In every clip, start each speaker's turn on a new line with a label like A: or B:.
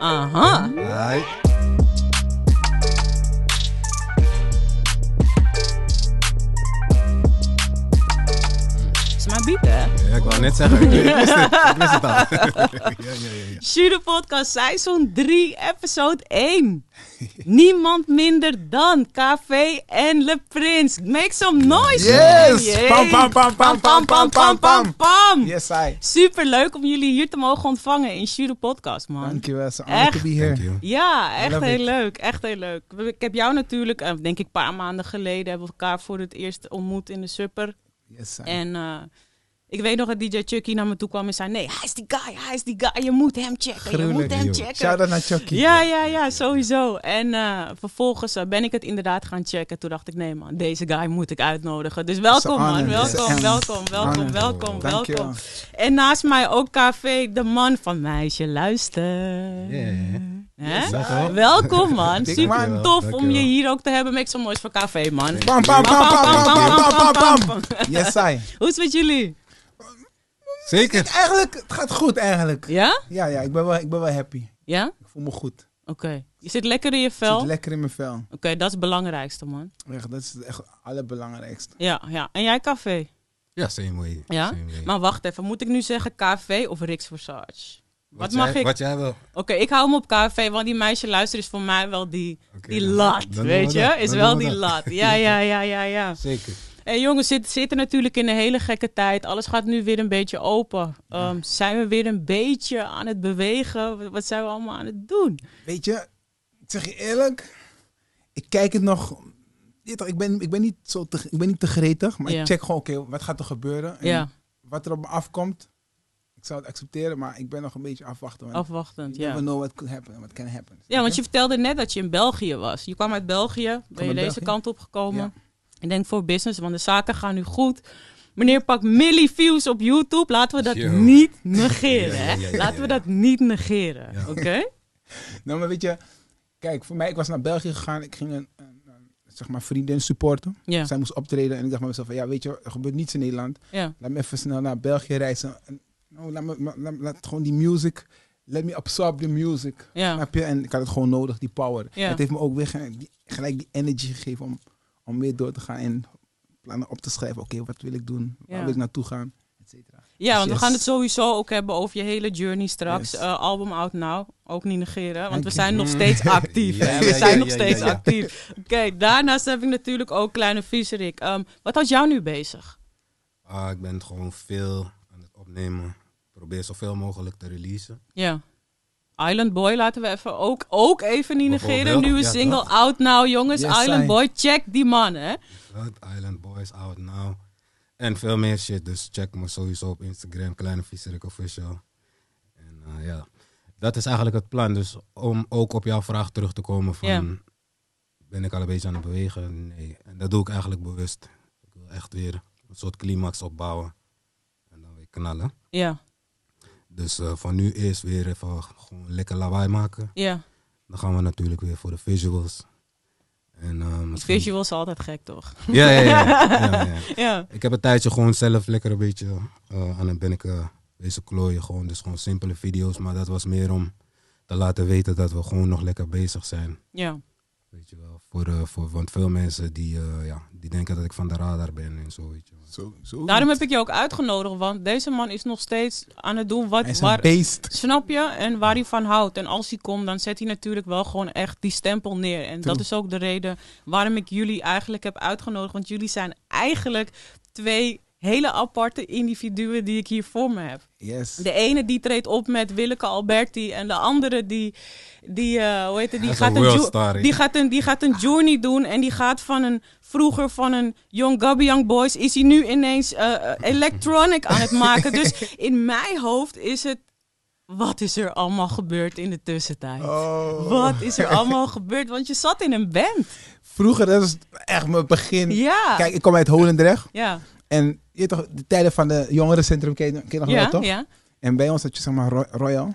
A: Aha.
B: Hai.
A: Ze maar bieden.
B: Ja, ik wou net zeggen. Ik wist het, ik wist het al. ja, ja, ja, ja.
A: Shure Podcast Seizoen 3, episode 1. Niemand minder dan KV en Le Prins. Make some noise.
B: Yes!
A: man. Yay.
B: Pam, pam, pam, pam, pam, pam, pam, pam.
A: pam.
C: Yes, I.
A: Super leuk om jullie hier te mogen ontvangen in Shure Podcast, man.
C: Dankjewel, it's an
A: Echt?
C: honor to be here.
B: Thank you.
A: Ja, echt
C: Love
A: heel
C: it.
A: leuk. Echt heel leuk. Ik heb jou natuurlijk, eh, denk ik, een paar maanden geleden hebben we elkaar voor het eerst ontmoet in de supper.
C: Yes, I.
A: En eh, ik weet nog dat DJ Chucky naar me toe kwam en zei: Nee, hij is die guy, hij is die guy. Je moet hem checken. je moet
C: Gruwelijk,
A: hem
B: joh.
A: checken.
C: Shout out naar Chucky.
A: Ja, ja, ja, sowieso. En eh, vervolgens eh, ben ik het inderdaad gaan checken. Toen dacht ik, nee man, deze guy moet ik uitnodigen. Dus welkom
C: honor.
A: man,
C: It's an
A: welkom, welkom,
C: honor.
A: welkom,
C: Honor.
A: welkom,
C: Dankjewel.
A: welkom. En naast mij ook KV, de man van Meisje Luister. Hè?
B: Welkom.
A: Welkom man,
C: Big
A: super
C: man.
A: tof om
B: Dankjewel.
A: je hier ook te hebben. Make some noise voor KV man.
C: Bam, bam, bam, bam, bam, bam, bam, bam, bam,
A: bam.
C: Yes, I.
A: Hoe is het met jullie?
B: Zeker.
C: Eigenlijk, het gaat goed eigenlijk.
A: Ja?
C: Ja, ja, ik ben wel, ik ben wel happy.
A: Ja?
C: Ik voel me goed.
A: Oké. Je zit lekker in je
C: Ik
A: vel.
C: zit
A: Oké,
C: lekker in mijn vel.
A: dat is het belangrijkste man.
C: Echt, dat is echt het allerbelangrijkste.
A: Ja, ja. En jij KV?
B: Ja, same way.
A: Ja?
B: Same way.
A: Maar wacht even, moet ik nu zeggen KV of Rix Versage? Wat
B: jij-
A: mag ik?
B: Wat jij wil.
A: Oké, ik hou hem op KV, want die meisje luisteren is voor mij wel die,
B: Oké,
A: die
B: dan-
A: lat.
B: dan doen
A: weet
B: we
A: je?
B: dat.
A: Is
B: Dan
A: wel
B: doen we
A: die
B: dat.
A: lat. Ja, ja, ja, ja, ja.
B: Zeker.
A: Hey, jongens, zit, zitten natuurlijk in een hele gekke tijd. Alles gaat nu weer een beetje open. Ehm, Zijn we weer een beetje aan het bewegen? Wat, wat zijn we allemaal aan het doen?
C: Weet je, ik zeg je eerlijk, ik kijk het nog. je weet toch, Ik ben, ik ben, niet, zo te, ik ben niet te gretig, maar
A: Ja.
C: ik check gewoon, oké, wat gaat er gebeuren? En
A: Ja,
C: Wat er op me afkomt, ik zou het accepteren, maar ik ben nog een beetje afwachten. Want
A: afwachtend.
C: you never
A: Ja.
C: know what could happen, what can happen.
A: ja, want je vertelde net dat je in België was. Je kwam uit België, ben je
C: uit
A: deze
C: België.
A: kant opgekomen.
C: Ja.
A: Ik denk voor business, want de zaken gaan nu goed. Meneer pakt millie views op YouTube. Laten we dat
B: Yo.
A: niet negeren. hè?
B: Ja, ja, ja, ja,
A: Laten we
B: ja.
A: dat niet negeren.
B: Ja.
A: Oké?
C: Nou, maar weet je, kijk, voor mij, ik was naar België gegaan. Ik ging een, een, een, zeg maar, vriendin supporten.
A: Ja.
C: Zij moest optreden en ik dacht bij mezelf, van, ja, weet je, er gebeurt niets in Nederland.
A: ja.
C: Laat me even snel naar België reizen. En, nou, laat, me, ma- laat, laat gewoon die music, let me absorb the music.
A: Ja.
C: Snap je? En ik had het gewoon nodig, die power.
A: Ja.
C: Het heeft me ook weer ge- die- gelijk die energy gegeven om, om weer door te gaan en plannen op te schrijven. Oké, wat wil ik doen? Waar
A: Ja.
C: wil ik naartoe gaan? Et cetera.
A: ja, want we
C: Yes.
A: gaan het sowieso ook hebben over je hele journey straks.
C: Yes.
A: Eh, album out now. Ook niet negeren, want we
C: je.
A: zijn nog steeds actief.
B: Mm. Ja,
A: hè? We
B: ja,
A: zijn
B: ja,
A: nog
B: ja,
A: steeds
B: ja, ja.
A: actief. Oké, daarnaast heb ik natuurlijk ook Kleine Vieserik. Ehm, wat houdt jou nu bezig?
B: Ah, ik ben gewoon veel aan het opnemen. Ik probeer zoveel mogelijk te releasen.
A: Ja. Island Boy laten we even ook, ook even niet negeren.
B: Bijvoorbeeld,
A: Nieuwe
B: ja,
A: single
B: dat.
A: out now, jongens.
C: Yes,
A: Island
C: I.
A: Boy, check die man, hè.
B: Blood Island Boys out now. En veel meer shit. Dus check me sowieso op Instagram, Kleine Vieserik Official. En eh, ja, dat is eigenlijk het plan. Dus om ook op jouw vraag terug te komen van...
A: Ja.
B: Ben ik al een beetje aan het bewegen? Nee. En dat doe ik eigenlijk bewust. Ik wil echt weer een soort climax opbouwen. En dan weer knallen.
A: Ja,
B: Dus eh, van nu eerst weer even gewoon lekker lawaai maken.
A: ja.
B: Dan gaan we natuurlijk weer voor de visuals. En, eh,
A: Die
B: misschien-
A: visuals zijn altijd gek, toch?
B: Ja, ja, ja. ja, ja.
A: Ja.
B: Ik heb een tijdje gewoon zelf lekker een beetje eh, aan het ben ik eh, bezig klooien. Gewoon, dus gewoon simpele video's. Maar dat was meer om te laten weten dat we gewoon nog lekker bezig zijn.
A: Ja.
B: Weet je wel. Voor, eh, voor, want veel mensen die, eh, ja, die denken dat ik van de radar ben en zo. Weet je wel.
C: Zo, zo.
A: Daarom heb ik je ook uitgenodigd, want deze man is nog steeds aan het doen
C: Hij
A: wat,
C: is een
A: waar,
C: beest.
A: snap je, en waar hij van houdt. En als hij komt, dan zet hij natuurlijk wel gewoon echt die stempel neer. En dat
C: True.
A: is ook de reden waarom ik jullie eigenlijk heb uitgenodigd, want jullie zijn eigenlijk twee hele aparte individuen die ik hier voor me heb.
C: Yes.
A: De ene die treedt op met Willeke Alberti en de andere die, die eh, hoe heet het, die
B: Hij is
A: gaat
B: een
A: een, jo-
B: worldstar, hè?
A: die, gaat een, die gaat een journey doen en die gaat van een, vroeger van een Young Gabby Young Boys, is hij nu ineens eh, eh, electronic aan het maken. Dus in mijn hoofd is het, wat is er allemaal gebeurd in de tussentijd?
C: Oh.
A: Wat is er allemaal gebeurd? Want je zat in een band.
C: Vroeger, dat is echt mijn begin.
A: Ja.
C: Kijk, ik kom uit Holendrecht.
A: ja. En
C: En je weet toch, de tijden van de jongerencentrum ken je, ken je nog wel,
A: ja,
C: toch?
A: ja.
C: En bij ons had je zeg maar Ro- Royal.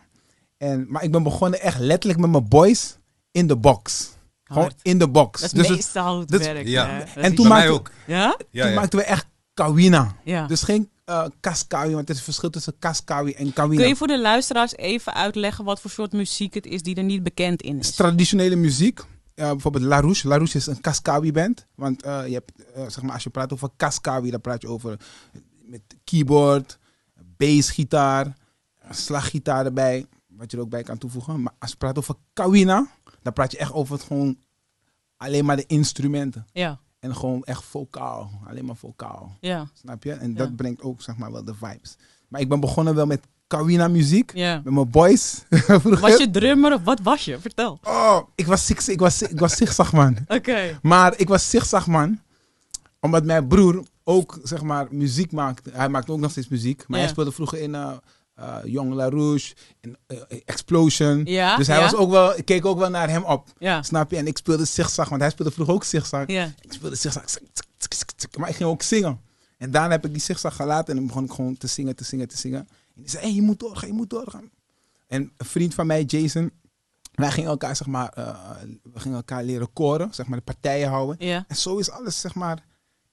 C: En, maar ik ben begonnen echt letterlijk met mijn boys in de box. Gewoon
A: Hard.
C: in de box.
A: Dat is
C: Dus het-
A: meestal hoe het
C: dat is-
A: werkt.
B: ja.
A: hè. Dat
C: En
A: is-
B: Bij
C: toen maakte-
B: mij ook.
A: Ja?
B: Ja,
C: toen
B: ja.
C: maakten we echt Kawina.
A: Ja.
C: Dus geen eh kaskawi, want het is het verschil tussen kaskawi en kawina.
A: Kun je voor de luisteraars even uitleggen wat voor soort muziek het is die er niet bekend in
C: is
A: is?
C: traditionele muziek. Eh, bijvoorbeeld Larouche. Larouche is een Kaskawi-band. Want eh, je hebt, eh, zeg maar, als je praat over Kaskawi, dan praat je over eh, met keyboard, bassgitaar, slaggitaar erbij. Wat je er ook bij kan toevoegen. Maar als je praat over Kawina, dan praat je echt over het gewoon alleen maar de instrumenten.
A: Ja,
C: En gewoon echt vocaal. Alleen maar vocaal.
A: ja,
C: Snap je? En dat
A: Ja.
C: brengt ook, zeg maar, wel de vibes. Maar ik ben begonnen wel met Kawina-muziek.
A: ja.
C: Met mijn boys. Vroeger.
A: Was je drummer of wat was je? Vertel.
C: Oh, ik was, six, ik was, ik was zigzag, man.
A: Oké.
C: Maar ik was zigzag man. Omdat mijn broer ook zeg maar muziek maakte. Hij maakte ook nog steeds muziek. Maar
A: Ja.
C: hij speelde vroeger in eh eh Young LaRouche, in eh, Explosion.
A: Ja,
C: dus hij
A: ja.
C: was ook wel, ik keek ook wel naar hem op.
A: Ja,
C: Snap je? En ik speelde zigzag, want hij speelde vroeger ook zigzag.
A: ja,
C: Ik speelde zigzag, tsk, tsk, tsk, tsk, tsk, maar ik ging ook zingen. En daarna heb ik die zigzag gelaten en dan begon ik gewoon te zingen, te zingen, te zingen. En die zei, hey, je moet doorgaan, je moet doorgaan. En een vriend van mij, Jason, wij gingen elkaar, zeg maar, eh, we gingen elkaar leren koren, zeg maar, de partijen houden.
A: ja.
C: En zo is alles, zeg maar,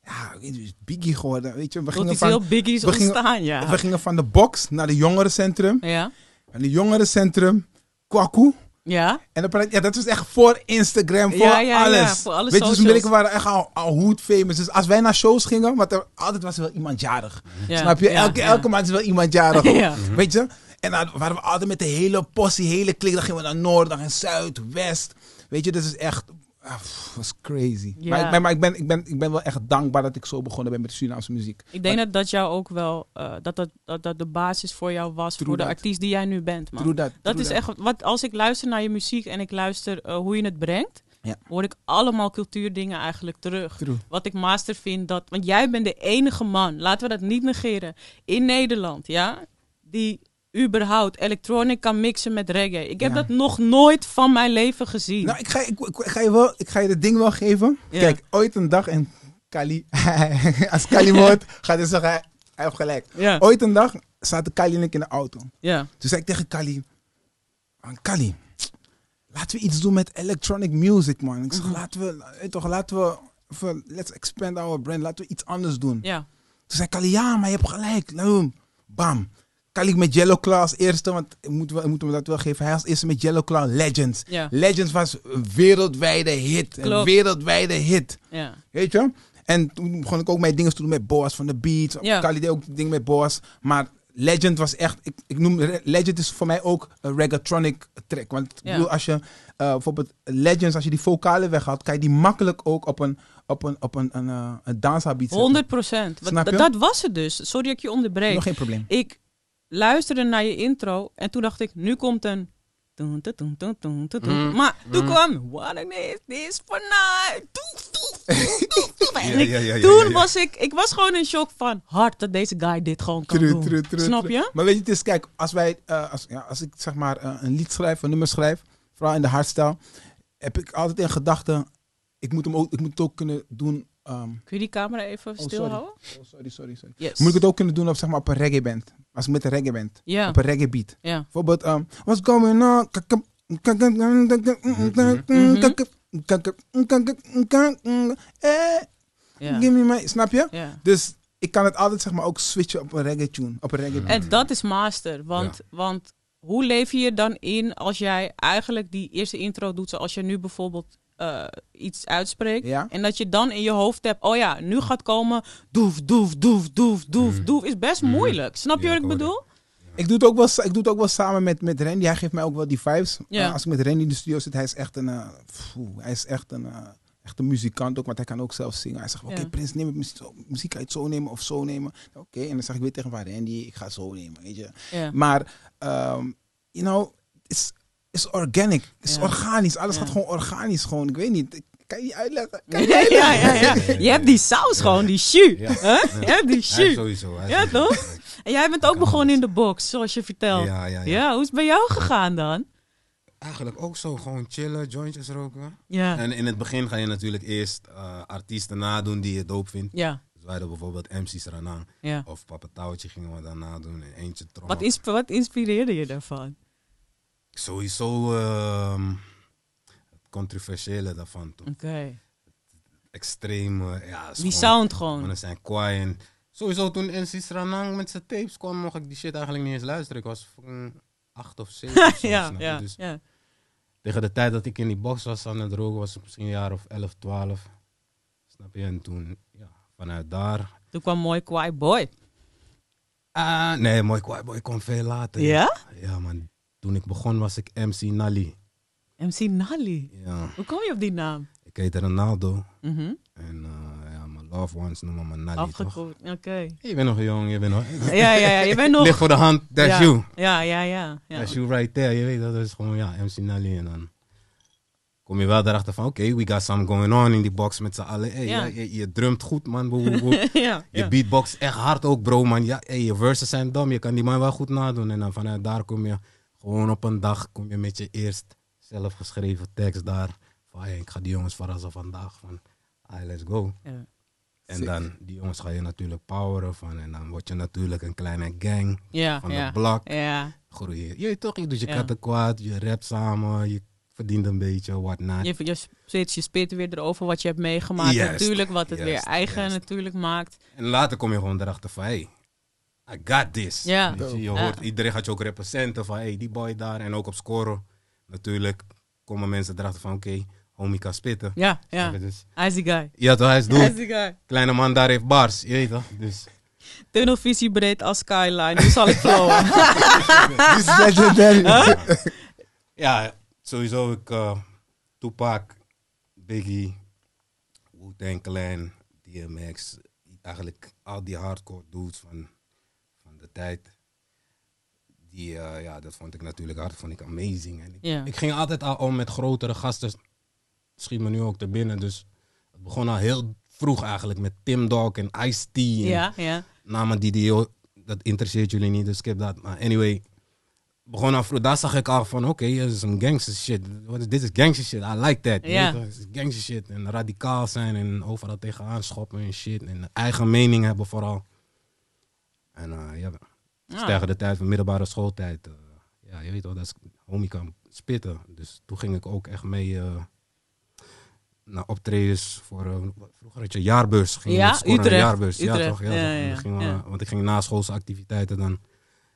C: ja, ik weet je, is Biggie geworden, weet je. We
A: Tot
C: gingen,
A: iets
C: van,
A: heel biggies
C: we gingen-
A: ontstaan, ja.
C: we gingen van de box naar de jongerencentrum.
A: Ja,
C: En de jongerencentrum, Kwaku.
A: ja.
C: En dan praat, ja, dat was echt voor Instagram, voor
A: Ja, ja,
C: alles.
A: ja, voor alle
C: Weet je, dus
A: socials.
C: we waren echt al, al hoed famous. Dus als wij naar shows gingen, want er altijd was er wel iemand jarig.
A: ja.
C: Snap je?
A: Ja,
C: elke,
A: ja.
C: elke maand is wel iemand jarig.
A: Ja.
C: Weet je? En dan waren we altijd met de hele possie, hele klik. Dan gingen we naar Noord, dan en Zuid, West. Weet je, dat is echt... ah, pff, was crazy.
A: Ja.
C: Maar, ik ben, maar ik, ben, ik, ben, ik ben wel echt dankbaar dat ik zo begonnen ben met Surinaamse muziek.
A: Ik denk dat dat jou ook wel, eh, dat, dat, dat dat de basis voor jou was,
C: True
A: voor de
C: dat.
A: artiest die jij nu bent, man.
C: Doe dat.
A: Dat
C: doe
A: is echt, wat, als ik luister naar je muziek en ik luister eh, hoe je het brengt,
C: Ja.
A: hoor ik allemaal cultuurdingen eigenlijk terug.
C: True.
A: Wat ik master vind, dat, want jij bent de enige man, laten we dat niet negeren, in Nederland, ja, die überhaupt electronic kan mixen met reggae. Ik heb
C: Ja.
A: dat nog nooit van mijn leven gezien.
C: Nou, ik ga, ik, ik- ik ga je wel, ik ga je dit ding wel geven.
A: Ja.
C: Kijk, ooit een dag en Kali, als Kali wordt, gaat hij zeggen, hij hij heeft gelijk.
A: ja,
C: Ooit een dag zaten Kali en ik in de auto.
A: ja,
C: Toen zei ik tegen Kali, "Man, Kali, laten we iets doen met electronic music, man. Ik
A: Mhm.
C: zeg, laten we, eh, toch, laten we, even- let's expand our brand, laten we iets anders doen.
A: ja,
C: Toen zei Kali, ja, maar je hebt gelijk. Nou, Bam. Kali met Yellow Claw als eerste, want ik moet, wel, ik moet hem dat wel geven. Hij als eerste met Yellow Claw Legends.
A: ja,
C: Legends was een wereldwijde hit. Een
A: Klopt.
C: wereldwijde hit.
A: ja,
C: Weet je? En toen begon ik ook mijn dingen te doen met Boas van de Beats.
A: Ja.
C: Kali deed ook dingen met Boas. Maar Legend was echt... Ik, ik noem, Legend is voor mij ook een reggaetronic track. Want ik
A: Ja.
C: bedoel, als je eh, bijvoorbeeld Legends... Als je die vocalen weghaalt, kan je die makkelijk ook op een, op een, op een, een, eh, een danshabiet zetten.
A: 100 procent.
C: Snap je?
A: Dat was het dus. Sorry dat ik je onderbreek.
C: Nog geen probleem.
A: ik luisterde naar je intro en toen dacht ik, nu komt een... toen, toen, toen, toen, toen, toen, toen.
B: Mm,
A: Maar toen
B: mm.
A: kwam, what a night this for night. Toef, toef, toef, toef, toef. En
B: Ja,
A: ik-
B: ja, ja, ja, ja,
A: Toen
B: ja.
A: was ik, ik was gewoon in shock van, hard dat deze guy dit gewoon kan
C: True,
A: doen.
C: true, true,
A: Snap
C: true.
A: je?
C: Maar weet je, het is, kijk, als wij, eh, als, ja, als ik zeg maar eh, een lied schrijf, een nummer schrijf, vooral in de hardstyle, heb ik altijd in gedachten, ik moet hem ook, ik moet het ook kunnen doen. ehm,
A: Kun je die camera even
C: sorry.
A: stilhouden?
C: oh, sorry, sorry, sorry.
A: Yes.
C: Moet ik het ook kunnen doen op zeg maar op een reggae band, als ik met een reggae band,
A: Ja,
C: op een reggae beat.
A: ja.
C: Bijvoorbeeld, ehm, what's going on?
A: Mhm.
C: Eh,
A: ja,
C: Give me my, snap je?
A: ja.
C: Dus ik kan het altijd zeg maar ook switchen op een reggae tune, op een reggae beat.
A: En dat is master, want, want hoe leef je je dan in als jij eigenlijk die eerste intro doet zoals je nu bijvoorbeeld eh, iets uitspreekt?
C: Ja.
A: En dat je dan in je hoofd hebt, oh ja, nu gaat komen doef, doef, doef, doef, doef,
B: Mm.
A: doef. Is best
B: Mm.
A: moeilijk. Snap je
B: Ja,
A: wat ik
B: ik hoor
A: bedoel?
C: Ik doe, het ook wel, sa- ik doe het ook wel samen met, met Randy. Hij geeft mij ook wel die vibes.
A: Ja.
C: Uh, als ik met Randy in de studio zit, hij is echt een, eh, pfoe, hij is echt een, eh, echt een muzikant ook, want hij kan ook zelf zingen. Hij zegt, oké
A: Ja.
C: Prins, neem het muziek, zo- muziek uit zo nemen of zo nemen. Oké, en dan zeg ik weer tegen hem, "Ah, Randy, ik ga zo nemen, weet je.
A: Ja.
C: Maar, ehm, you know, it's, it's organic. It's
A: Ja.
C: organisch. Alles
A: Ja.
C: gaat gewoon organisch. Gewoon, ik weet niet. Ik kan je niet uitleggen. Kan je niet
A: Ja,
C: uitleggen?
A: ja, ja, ja. Je hebt die saus gewoon, die jus.
B: Ja.
A: Huh? Je hebt die
B: Hij
A: jus.
B: sowieso. hij
A: Ja,
B: sowieso.
A: En jij bent ook begonnen in de box, zoals je vertelt. Ja,
B: Ja, ja, ja.
A: hoe is het bij jou gegaan dan?
B: Eigenlijk ook zo. Gewoon chillen, jointjes roken.
A: Ja,
B: En in het begin ga je natuurlijk eerst eh, artiesten nadoen die je dope vindt.
A: ja,
B: Dus wij hadden bijvoorbeeld MC's eraan.
A: ja.
B: Of Papa Touwtje gingen we daarna doen. En eentje trom.
A: Wat, insp- wat inspireerde je daarvan?
B: Sowieso ehm, het controversiële daarvan. Toen.
A: Oké.
B: Extreem. eh, ja, is
A: Die
B: gewoon-
A: sound gewoon.
B: Mannen zijn kwaai en Sowieso toen NC Stranang met zijn tapes kwam, mocht ik die shit eigenlijk niet eens luisteren. Ik was fucking acht of zeven. of zo,
A: ja,
B: snap je?
A: ja,
B: Dus
A: ja.
B: tegen de tijd dat ik in die box was aan het roken, was ik misschien een jaar of 11, 12. Snap je? En toen, ja, vanuit daar.
A: Toen kwam mooi Kwaai Boy.
B: Ah, nee, mooi Kwaai Boy kwam veel later.
A: Ja?
B: Ja, man. Toen ik begon was ik MC Nali.
A: MC Nali.
B: Ja.
A: Hoe kom je op die naam?
B: Ik heette Ronaldo.
A: Mhm.
B: En eh, ja, mijn loved ones noemen me Nali, toch?
A: Afgekort. Oké.
B: Je bent nog jong, je bent nog...
A: Ja, ja, ja. Je bent nog.
B: Ligt voor de hand, that's
A: ja.
B: you.
A: Ja, ja, ja. ja.
B: Als you right there, je weet dat is gewoon ja, MC Nally. En dan kom je wel daarachter van, oké, we got some going on in die box met z'n allen. Hey,
A: Ja.
B: ja, je, je drumt goed, man. Boe, boe, boe.
A: ja,
B: Je
A: ja.
B: beatbox echt hard ook, bro, man. Ja, hey, je verses zijn dom. Je kan die man wel goed nadoen. En dan vanuit daar kom je gewoon op een dag kom je met je eerst zelfgeschreven tekst daar. Van, hey, ik ga die jongens verrassen vandaag. Van, hey, let's go.
A: Ja.
B: En
C: Sick.
B: dan, die jongens ga je natuurlijk poweren van. En dan word je natuurlijk een kleine gang
A: Ja,
B: van
A: ja.
B: de blok
A: Ja.
B: groeien. Je weet toch, je doet je
A: Ja.
B: katten kwaad, je rapt samen, je verdient een beetje, wat na.
A: Je, je, spit- je spit weer erover wat je hebt meegemaakt.
B: Juist,
A: natuurlijk, wat het weer
B: juist,
A: eigen
B: juist.
A: natuurlijk maakt.
B: En later kom je gewoon erachter van, hey, I got this.
A: Ja.
B: Weet je, je
A: Ja.
B: hoort, iedereen gaat je ook representen van, hey, die boy daar. En ook op scoren, natuurlijk, komen mensen erachter van, oké, homie kan spitten.
A: Ja, ja.
B: Snap je? Dus,
A: Icy guy.
B: ja, toch, hij is doet.
A: Icy guy.
B: Kleine man daar heeft bars, je weet toch. Dus,
A: Tunnelvisie breed als skyline. Nu zal ik flowen.
C: This is legendary.
B: ja, sowieso, ik, eh Tupac, Biggie, Wu-Tang Clan, DMX, eigenlijk al die hardcore dudes van, van de tijd. Die, eh, ja, dat vond ik natuurlijk hard, vond ik amazing. En ik,
A: Ja.
B: ik ging altijd al om met grotere gasten, schiet me nu ook te binnen, dus het begon al heel vroeg eigenlijk met Tim Dog en Ice-T en
A: ja, ja.
B: namen die die, dat interesseert jullie niet, dus skip dat. Maar anyway, begon af, daar zag ik al van, oké, dit is een gangster shit. Wat is- Dit is gangster shit, I like that. Je
A: Ja.
B: weet toch, het is Gangster shit en radicaal zijn en overal tegenaan schoppen en shit. En eigen mening hebben vooral. En eh, ja,
A: Ah.
B: tegen de tijd van middelbare schooltijd. eh, ja, je weet wel, dat is, homie kan spitten. Dus toen ging ik ook echt mee... eh, naar optredens voor eh, vroeger had je jaarbeurs ging je
A: Ja,
B: met scoren naar
A: Utrecht,
B: jaarbeurs
A: Utrecht.
B: ja toch
A: Ja,
B: ja, toch.
A: ja,
B: En dan gingen we-
A: ja.
B: want ik ging na schoolse activiteiten dan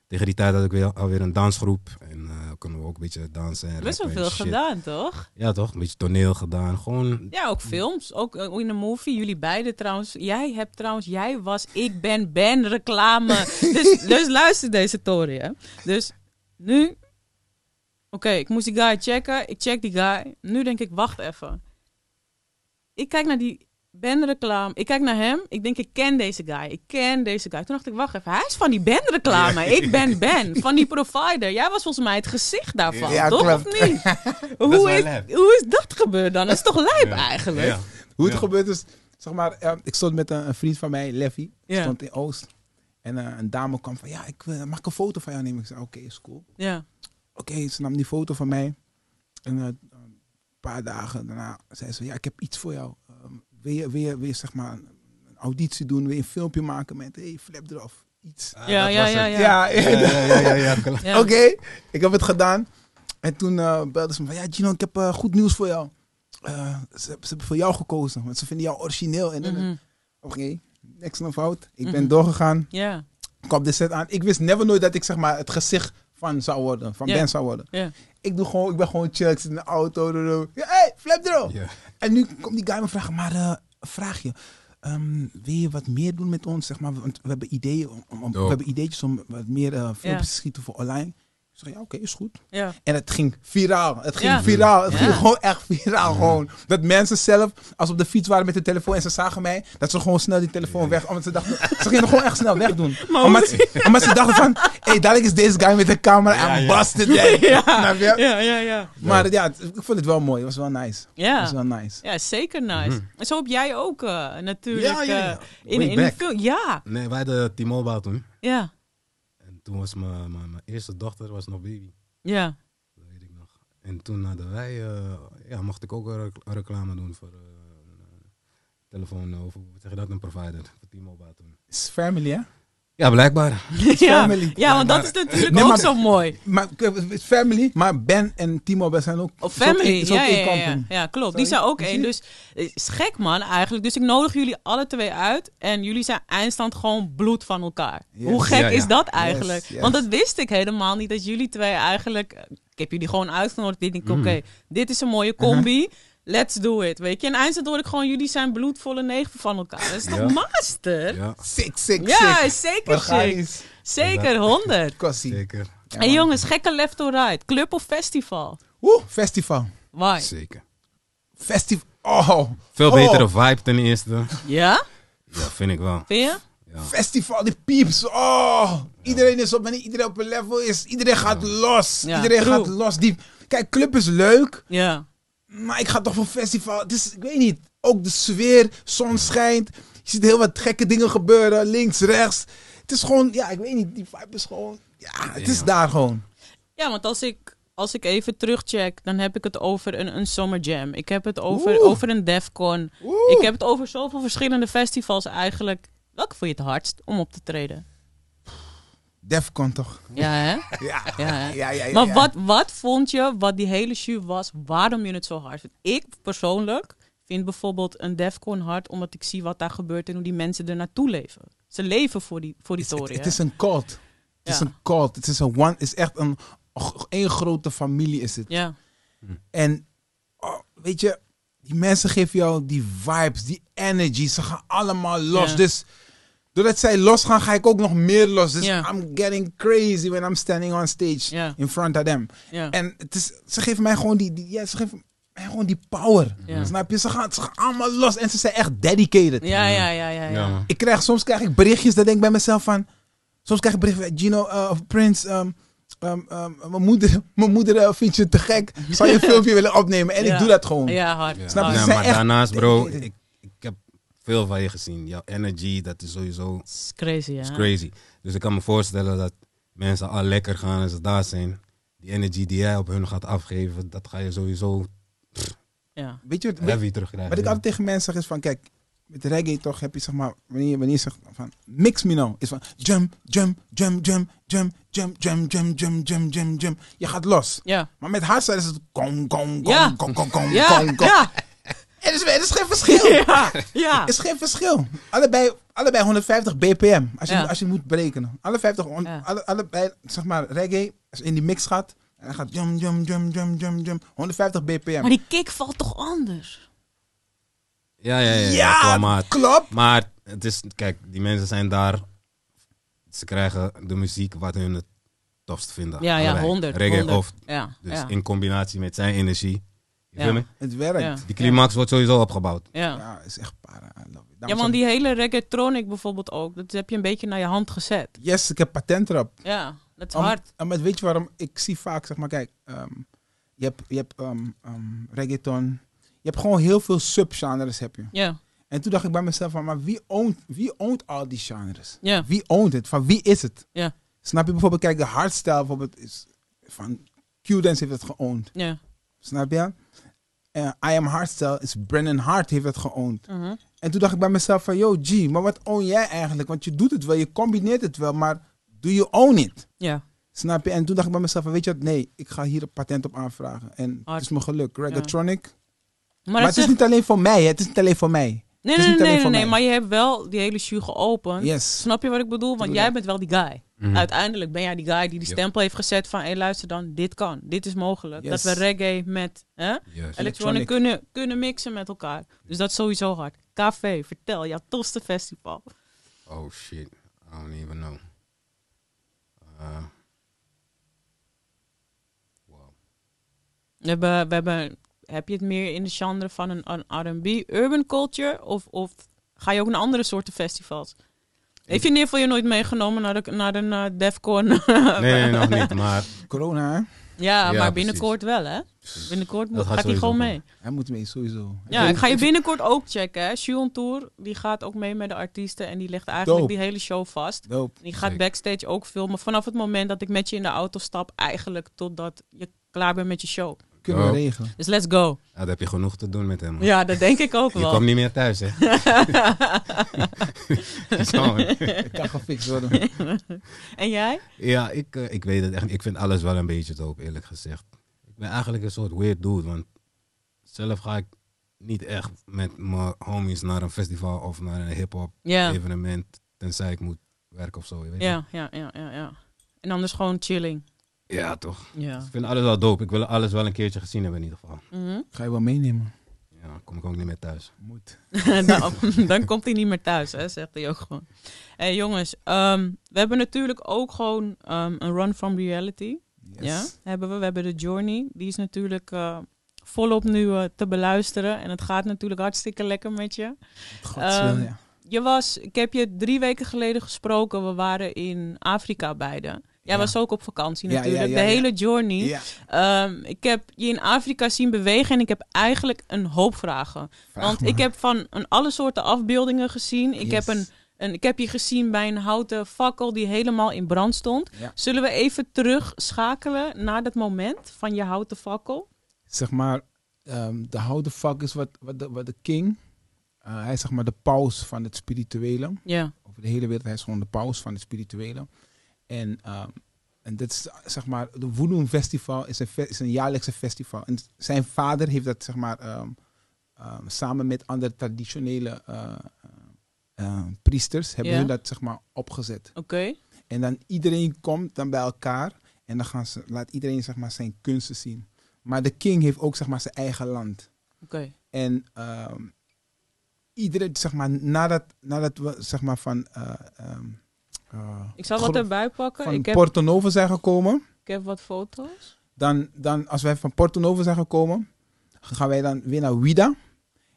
B: tegen die tijd had ik weer alweer een dansgroep en eh konden we ook een beetje dansen en
A: Best wel
B: rappen en
A: veel
B: shit.
A: gedaan, toch?
B: ja toch een beetje toneel gedaan gewoon
A: Ja, ook films. Ook eh, in een movie. Jullie beiden trouwens. Jij hebt trouwens, jij was Ik Ben Ben reclame. dus, dus luister deze tory, hè. Dus nu... Oké, ik moest die guy checken. Ik check die guy. Nu denk ik, wacht even. Ik kijk naar die Ben reclame. Ik kijk naar hem. Ik denk, ik ken deze guy. Ik ken deze guy. Toen dacht ik, wacht even. Hij is van die Ben reclame. Ik ben Ben. Van die provider. Jij was volgens mij het gezicht daarvan.
C: Ja,
A: toch
C: klopt.
A: of niet?
B: is
A: Hoe
B: wel
A: is,
B: lijp.
A: hoe is dat gebeurd dan? Dat is toch lijp eigenlijk?
B: ja
C: Hoe het
B: Ja.
C: gebeurd is, zeg maar, eh, ik stond met een, een vriend van mij, Leffy,
A: Ja.
C: stond in Oost. En eh, een dame kwam van, ja, ik, wil- mag ik een foto van jou nemen? Ik zei, oké, is cool.
A: Ja.
C: Oké, ze nam die foto van mij. En eh, een paar dagen daarna zei ze, ja, ik heb iets voor jou. Ehm, wil, je, wil, je, wil je, zeg maar, een auditie doen? Wil je een filmpje maken met, hey, flap eraf, iets?
B: Ah,
A: Ja,
B: dat
A: ja,
B: was
A: ja,
B: het.
A: ja.
C: Ja,
B: ja ja ja, ja, ja, klopt.
A: Ja.
C: Oké, ik heb het gedaan. En toen eh, belde ze me van, ja Gino, ik heb eh, goed nieuws voor jou. Eh, ze, ze hebben voor jou gekozen, want ze vinden jou origineel. En, en-
A: Mhm.
C: Oké, niks nog fout. Ik ben
A: Mhm.
C: doorgegaan,
A: Ja,
C: ik kwam de set aan. Ik wist never nooit dat ik zeg maar het gezicht van zou worden, van
A: Ja.
C: Ben zou worden.
A: ja.
C: Ik, doe gewoon, ik ben gewoon chill, ik zit in de auto. doe, doe. Ja, hey, flap erop.
B: Ja.
C: En nu komt die guy me vragen, maar eh, vraag je, ehm, wil je wat meer doen met ons? Zeg maar, want we hebben, ideeën om, om- we
B: Dope.
C: hebben ideetjes om wat meer eh, filmpjes
A: Ja.
C: te schieten voor online. Ik zeg, ja, oké, is goed.
A: ja.
C: En het ging viraal. Het ging
A: Ja.
C: viraal. Het
A: Ja.
C: ging gewoon echt viraal. Gewoon. Dat mensen zelf, als ze op de fiets waren met de telefoon en ze zagen mij, dat ze gewoon snel die telefoon weg. Omdat ze dachten, ze gingen hem gewoon echt snel wegdoen.
A: Maar
C: omdat, ze, omdat ze dachten van, hé, hey, dadelijk is deze guy met de camera
B: Ja,
C: aan
B: ja.
C: busted day.
A: Ja,
C: Nou, ja.
A: ja, ja, ja.
C: Maar ja, het- ik vond het wel mooi. Het was wel nice. Het was wel nice.
A: Ja, zeker nice. En zo heb jij ook eh, natuurlijk...
B: Mhm. Ja, ja, ja.
A: eh, in,
B: Way
A: in een
B: back.
A: film. Ja,
B: nee wij de T-Mobile toen
A: ja,
B: en toen was mijn mijn- mijn eerste dochter was nog baby
A: ja.
B: Dat weet ik nog. En toen hadden wij, eh, ja, mocht ik ook een rec- een reclame doen voor eh, een eh, telefoon, eh, of hoe zeg je dat, een provider, voor T-Mobile toen.
C: Het is family, hè?
B: Ja, blijkbaar.
A: ja,
C: family.
A: ja, want dat is natuurlijk
C: Nee,
A: ook
C: maar-
A: zo mooi.
C: Maar ik- het is family, maar Ben en Timo we zijn ook.
A: Of
C: is ook één-
A: Oh, family,
C: is ook
A: ja,
C: één
A: ja, ja, ja,
C: company.
A: Ja, klopt. Die
C: Sorry.
A: zijn ook
C: Zie
A: één.
C: je?
A: Dus het is gek man eigenlijk. Dus ik nodig jullie alle twee uit. En jullie zijn eindstand gewoon bloed van elkaar.
C: Yes.
A: Hoe gek
B: Ja, ja.
A: is dat eigenlijk?
C: Yes, yes.
A: Want dat wist ik helemaal niet. Dat jullie twee eigenlijk... eh, Ik heb jullie gewoon uitgenodigd. Ik denk,
B: Mm.
A: oké, dit is een mooie
C: Uh-huh.
A: combi. Let's do it, weet je. En eindstand hoor ik gewoon, jullie zijn bloedvolle negen van elkaar. Dat is toch
B: Ja.
A: master? Ja,
B: Ja,
C: Sick, sick, sick.
A: zeker sick.
C: Organisch.
A: Zeker, honderd.
C: Kossie.
B: zeker.
A: Hé hey jongens, gekke left or right. Club of festival?
C: Oeh, festival.
A: Why?
B: Zeker.
C: Festival. Oh.
B: Veel
C: oh.
B: betere vibe ten eerste.
A: Ja?
B: Ja, vind ik wel.
A: Vind je?
C: Festival, die pieps. Oh. Iedereen is op manier, iedereen op een level is. Iedereen gaat los.
A: Ja,
C: iedereen
A: true.
C: gaat los. Die, kijk, club is leuk,
A: Ja.
C: maar ik ga toch voor festival. Het is, ik weet niet. Ook de sfeer, zon schijnt. Je ziet heel wat gekke dingen gebeuren, links, rechts. Het is gewoon, ja, ik weet niet. Die vibe is gewoon, ja, het is
B: Ja.
C: daar gewoon.
A: Ja, want als ik, als ik even terugcheck, dan heb ik het over een, een summer jam. Ik heb het over,
C: Oeh.
A: over een Defcon.
C: Oeh.
A: Ik heb het over zoveel verschillende festivals eigenlijk. Welke vond je het hardst om op te treden?
C: Defcon toch?
A: Ja, hè?
C: Ja, ja,
A: Ja, hè?
C: ja. ja, ja.
A: Maar wat, wat vond je, wat die hele show was, waarom je het zo hard vindt? Ik persoonlijk vind bijvoorbeeld een Defcon hard, omdat ik zie wat daar gebeurt en hoe die mensen er naartoe leven. Ze leven voor die, voor die
C: Het is-
A: toren.
C: Het,
A: hè?
C: is een cult. Het is
A: Ja.
C: een cult. Het is een one. Het is echt een één grote familie is het.
A: Ja,
C: En oh, weet je, die mensen geven jou die vibes, die energy. Ze gaan allemaal los.
A: Ja.
C: Dus doordat zij losgaan, ga ik ook nog meer los. Dus
A: Ja.
C: I'm getting crazy when I'm standing on stage
A: Ja.
C: in front of them.
A: ja.
C: En het is, ze geven mij gewoon die, die ja, ze geven mij gewoon die power.
A: Ja.
C: Snap je? Ze gaan, ze gaan allemaal los en ze zijn echt dedicated.
A: Ja, ja, ja, ja.
B: Ja,
A: ja.
B: man.
C: Ik krijg, soms krijg ik berichtjes, dan denk ik bij mezelf van... Soms krijg ik berichten van Gino eh, of Prince... ehm, ehm, ehm, mijn moeder, mijn moeder eh, vindt je te gek. Zou je een filmpje willen opnemen? En
A: Ja.
C: ik doe dat gewoon.
A: Ja, hard.
B: Ja.
C: Snap
A: hard.
C: je?
B: Nee,
C: Ze
B: maar
C: echt-
B: daarnaast, bro, ik, ik heb veel van je gezien. Jouw energy, dat is sowieso
A: Het is crazy, hè?
B: is crazy. Dus ik kan me voorstellen dat mensen al lekker gaan en ze daar zijn. Die energy die jij op hun gaat afgeven, dat ga je sowieso
A: Ja.
C: Weet je wat,
B: heavy terugkrijgen.
C: wat ik
B: ja.
C: altijd tegen mensen zeg is van... Kijk, met reggae toch heb je zeg maar... Wanneer, wanneer je zegt van... Mix me nou. Is van jump, jump, jump, jump, jump, jump, jump, jump, jump, jump, jump, jump. Je gaat los.
A: Ja.
C: Maar met hardstyle is het... Kong, kong,
A: Ja.
C: kong, kong, kong, kong,
A: Ja,
C: kong, kong.
A: ja,
C: Er is, er is geen verschil.
A: ja, ja.
C: is geen verschil. Allebei, allebei 150 bpm, als je,
A: Ja.
C: als je moet berekenen. Alle 50, on-
A: Ja.
C: alle, allebei, zeg maar, reggae, als je in die mix gaat, en dan gaat jum, jum, jum, jum, jum, jum, 150 bpm.
A: Maar die kick valt toch anders?
B: Ja, ja, ja. ja,
C: ja,
B: qua maat.
C: klopt.
B: Maar het is, kijk, die mensen zijn daar. Ze krijgen de muziek wat hun het tofst vinden.
A: Ja, ja,
B: Allebei.
A: 100.
B: Reggae
A: 100.
B: of.
A: Ja,
B: Dus
A: ja,
B: in combinatie met zijn energie. Je
A: Ja.
B: weet me?
C: Het werkt.
A: Ja.
C: Ja,
B: Die climax wordt sowieso opgebouwd.
A: ja.
C: is echt para. I love it.
A: Ja, want die hele reggaetronic bijvoorbeeld ook, dat heb je een beetje naar je hand gezet.
C: Yes, ik heb patent erop.
A: Ja, dat is
C: Om-
A: hard.
C: om- maar weet je waarom? Ik zie vaak, zeg maar, kijk, ehm, je hebt, je hebt ehm, ehm, reggaeton, je hebt gewoon heel veel subgenres heb je.
A: Ja,
C: En toen dacht ik bij mezelf van, maar wie oont, wie oont al die genres?
A: ja,
C: Wie oont het? Van wie is het?
A: ja,
C: Snap je bijvoorbeeld, kijk, de hardstyle bijvoorbeeld is van Q-Dance heeft het geoond.
A: ja.
C: Snap je? Eh, I Am Hardstyle is Brennan Hart heeft het geoond.
A: Mhm.
C: En toen dacht ik bij mezelf van, yo G, maar wat own jij eigenlijk? Want je doet het wel, je combineert het wel, maar do you own it?
A: Ja,
C: Snap je? En toen dacht ik bij mezelf van, weet je wat? Nee, ik ga hier een patent op aanvragen. En
A: Hard.
C: het is mijn geluk. Reggaetronic. Maar,
A: maar dat
C: het is
A: zegt-
C: niet alleen voor mij, hè. het is niet alleen voor mij.
A: Nee, nee,
C: het is
A: nee,
C: niet alleen
A: nee,
C: voor
A: nee,
C: mij.
A: maar je hebt wel die hele shoe geopend.
C: Yes.
A: Snap je wat ik bedoel? Want
C: Tuurlijk.
A: jij bent wel die guy.
B: Mhm.
A: Uiteindelijk ben jij die guy die die
B: Ja.
A: stempel heeft gezet van... hé, luister dan, dit kan. Dit is mogelijk.
C: Yes.
A: Dat we reggae met hè,
B: Juist.
A: electronic
C: Electronic.
A: kunnen, kunnen mixen met elkaar. Dus dat is sowieso hard. KV, vertel, jouw tofste festival.
B: Oh shit, I don't even know. Uh, wow.
A: We hebben, we hebben, heb je het meer in de genre van een, een R&B, urban culture? Of, of ga je ook naar andere soorten festivals? Heeft je neer van je nooit meegenomen naar, de, naar een eh, Defcon? Oh.
B: Nee, nee, nog niet, maar
C: Corona, hè?
A: ja,
B: Ja,
A: maar binnenkort wel, hè? Binnenkort moet,
B: Dat gaat
A: gaat hij
B: sowieso
A: gewoon
B: komen.
A: mee.
C: Hij moet mee, sowieso.
A: Ja, ik ga je binnenkort ook checken, hè? Shion Tour, die gaat ook mee met de artiesten en die legt eigenlijk
C: Dope.
A: die hele show vast.
C: Dope.
A: Die gaat
B: Zeker.
A: backstage ook filmen vanaf het moment dat ik met je in de auto stap, eigenlijk totdat je klaar bent met je show.
C: Kunnen we
B: Oh.
C: regelen.
A: Dus let's go.
B: Ja, dat heb je genoeg te doen met hem. man.
A: Ja, dat denk ik ook
B: Je
A: wel.
B: kwam niet meer thuis, hè? Zo.
C: Het kan gefixt worden.
A: En jij?
B: ja, ik, eh, ik weet het echt niet. Ik vind alles wel een beetje dope, eerlijk gezegd. Ik ben eigenlijk een soort weird dude, want zelf ga ik niet echt met mijn homies naar een festival of naar een hip-hop
A: Ja,
B: evenement, tenzij ik moet werken of zo. Je weet
A: ja, ja, ja, ja, ja. En anders gewoon chilling.
B: het. ja toch?
A: Ja.
B: Ik vind alles wel dope. Ik wil alles wel een keertje gezien hebben, in ieder geval.
A: Mhm.
C: Ga je wel meenemen?
B: Ja, dan kom ik ook niet meer thuis.
C: Moet.
A: nou, dan komt hij niet meer thuis, hè, zegt hij ook gewoon. hey, jongens, ehm, we hebben natuurlijk ook gewoon ehm, een run from reality. Ja, hebben we. We hebben de Journey. Die is natuurlijk eh, volop nu eh, te beluisteren. En het gaat natuurlijk hartstikke lekker met je. Ehm,
C: ja.
A: Je was, ik heb je drie weken geleden gesproken. We waren in Afrika beide. Jij
C: Ja.
A: was ook op vakantie
C: Ja, ja,
A: natuurlijk.
C: ja,
A: de
C: ja.
A: hele Journey.
C: Ja.
A: Ehm, ik heb je in Afrika zien bewegen en ik heb eigenlijk een hoop vragen.
C: Vraag
A: Want
C: maar.
A: ik heb van een alle soorten afbeeldingen gezien. Ik,
C: Yes.
A: heb een, een, ik heb je gezien bij een houten fakkel die helemaal in brand stond.
C: Ja.
A: Zullen we even terugschakelen naar dat moment van je houten fakkel?
C: zeg maar, ehm, de houden vak is wat, wat, de, wat de king. Eh, hij is zeg maar de paus van het spirituele.
A: Ja,
C: Over de hele wereld, hij is gewoon de paus van het spirituele. En, ehm, en dit is zeg maar, de Voodoo Festival is een, fe- is een jaarlijkse festival. En zijn vader heeft dat zeg maar ehm, ehm, samen met andere traditionele eh, eh, eh, priesters hebben
A: Ja.
C: hun dat zeg maar opgezet.
A: oké.
C: En dan iedereen komt dan bij elkaar en dan gaan ze, laat iedereen zeg maar, zijn kunsten zien. Maar de king heeft ook zeg maar, zijn eigen land.
A: Oké.
C: En ehm iedereen, zeg maar, nadat, nadat we zeg maar, van, eh, ehm, eh,
A: Ik zal wat
C: gro-
A: erbij pakken.
C: van
A: Ik heb,
C: Porto Novo zijn gekomen,
A: ik heb wat foto's.
C: dan, dan als wij van Porto Novo zijn gekomen, gaan wij dan weer naar Wida.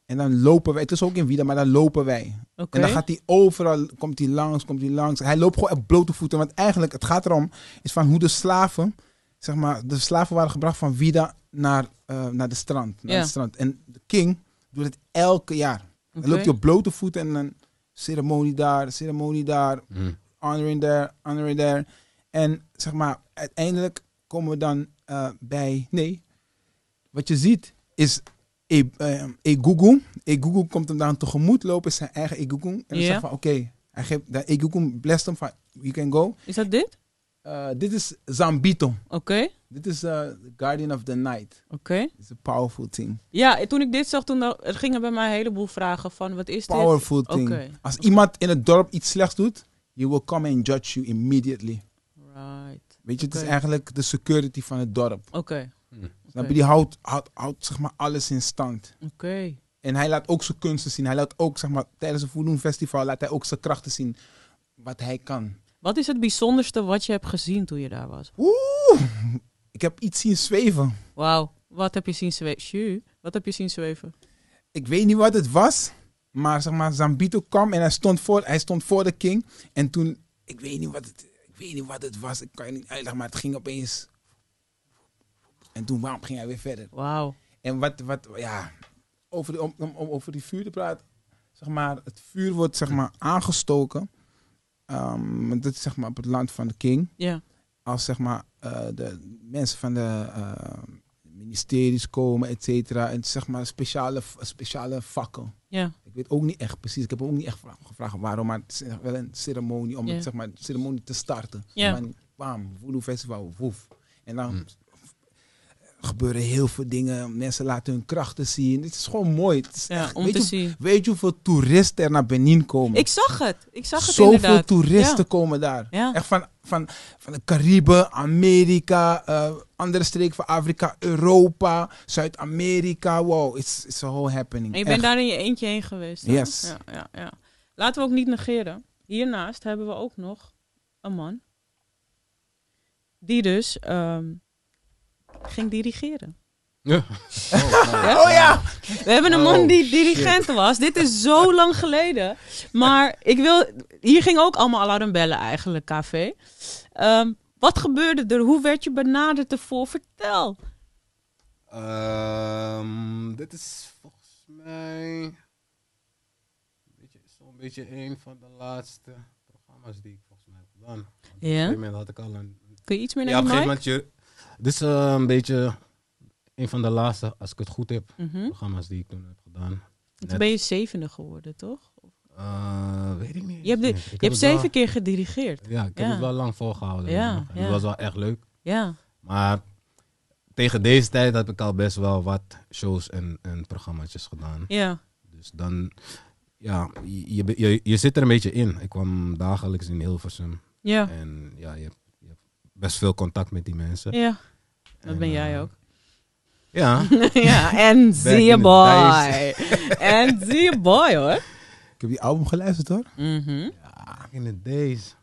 C: En dan lopen wij, het is ook in Wida, maar dan lopen wij.
A: Oké.
C: En dan gaat hij overal, komt hij langs, komt hij langs. Hij loopt gewoon op blote voeten. Want eigenlijk, het gaat erom, is van hoe de slaven, zeg maar, de slaven waren gebracht van Vida naar, eh, naar de strand. Naar
A: Ja.
C: het strand. En de king doet het elke jaar. Dan
A: Oké.
C: loopt hij op blote voeten en dan ceremonie daar, ceremonie daar,
B: Hm.
C: honoring there, honoring there. En zeg maar, uiteindelijk komen we dan eh, bij. Nee, wat je ziet is. E- eh, Egungun. Egungun komt hem dan tegemoet lopen, zijn eigen Egungun. En dan
A: Ja.
C: zegt van: Oké, hij geeft de Egungun blessed hem van: You can go.
A: Is dat dit?
C: Eh, dit is Zambito.
A: Oké.
C: Dit is eh, the Guardian of the Night.
A: Oké.
C: It's a powerful thing.
A: Ja, en toen ik dit zag, toen er er gingen bij mij een heleboel vragen van wat is dit?
C: Powerful thing.
A: Oké.
C: Als iemand in het dorp iets slechts doet, he will come and judge you immediately.
A: Right.
C: Weet je, het
A: Oké.
C: is eigenlijk de security van het dorp.
A: Oké.
B: Hm.
C: Snap je?
A: Oké.
C: Die houdt, houdt, houdt zeg maar alles in stand.
A: Oké.
C: En hij laat ook zijn kunsten zien. Hij laat ook zeg maar, tijdens het Voodoo Festival laat hij ook zijn krachten zien. Wat hij kan.
A: Wat is het bijzonderste wat je hebt gezien toen je daar was?
C: Oeh, ik heb iets zien zweven.
A: Wauw, wat heb je zien zweven? Sjoe, Wat heb je zien zweven?
C: Ik weet niet wat het was. Maar zeg maar, Zambito kwam en hij stond voor, hij stond voor de king. En toen, ik weet niet wat het, ik weet niet wat het was. Ik kan je niet uitleggen, maar het ging opeens. En toen, waarom ging hij weer verder?
A: Wauw.
C: En wat, wat ja, over die, om, om, om over die vuur te praten. Zeg maar, het vuur wordt zeg maar aangestoken. Ehm, want dat is zeg maar op het land van de king.
A: Ja.
C: Als zeg maar eh, de mensen van de eh, ministeries komen, et cetera. En het is, zeg maar speciale, speciale vakken.
A: Ja.
C: Ik weet ook niet echt precies. Ik heb ook niet echt vra- gevraagd waarom. Maar het is echt wel een ceremonie om
A: Ja.
C: het, zeg maar, de ceremonie te starten.
A: Ja.
C: Maar niet, bam, voodoo festival, woef. En dan
B: Hm.
C: gebeuren heel veel dingen. Mensen laten hun krachten zien. Het is gewoon mooi. Het is
A: ja
C: echt-
A: om
C: weet,
A: te
C: je,
A: zien.
C: weet je hoeveel toeristen er naar Benin komen?
A: Ik zag het. Ik zag het
C: Zoveel
A: inderdaad.
C: toeristen komen daar.
A: Ja.
C: Echt van, van, van de Cariben, Amerika, eh, andere streken van Afrika, Europa, Zuid-Amerika. Wow, it's, it's a whole happening.
A: En je
C: Echt.
A: bent daar in je eentje heen geweest. hè?
C: Yes.
A: Ja, ja, ja. Laten we ook niet negeren. Hiernaast hebben we ook nog een man. Die dus ehm, ging dirigeren.
B: Ja.
A: Ja?
C: Oh ja!
A: We hebben een man
B: Oh,
A: die dirigent was. Dit is zo lang geleden. Maar ik wil... Hier ging ook allemaal alarmbellen eigenlijk, KV. Ehm, wat gebeurde er? Hoe werd je benaderd ervoor? Vertel.
B: Ehm, dit is volgens mij een beetje- zo'n beetje een van de laatste programma's die ik volgens mij heb gedaan. Want Op een gegeven moment had ik al een...
A: Kun je iets meer
B: Ja,
A: naar
B: op een
A: die
B: gegeven
A: mic?
B: moment... Je, dit is eh, een beetje een van de laatste, als ik het goed heb,
A: Mhm.
B: programma's die ik toen heb gedaan.
A: Toen ben je zevende geworden, toch?
B: Eh, weet ik niet.
A: Je hebt de-
B: Ik heb
A: Je hebt
B: het wel-
A: zeven keer gedirigeerd.
B: Ja, ik heb
A: Ja.
B: het wel lang volgehouden.
A: Ja,
B: En
A: ja.
B: Dat was wel echt leuk.
A: Ja.
B: Maar tegen deze tijd heb ik al best wel wat shows en, en programma's gedaan.
A: Ja.
B: Dus dan, ja, je, je, je, je zit er een beetje in. Ik kwam dagelijks in Hilversum.
A: Ja.
B: En ja, je hebt, je hebt best veel contact met die mensen.
A: Ja. Dat
B: En,
A: ben jij
B: eh,
A: ook.
B: Ja,
A: ja. En zie je
B: in the
A: boy. En zie je boy, hoor.
C: Ik heb die album geluisterd hoor.
A: Mhm.
B: Ja, in de days.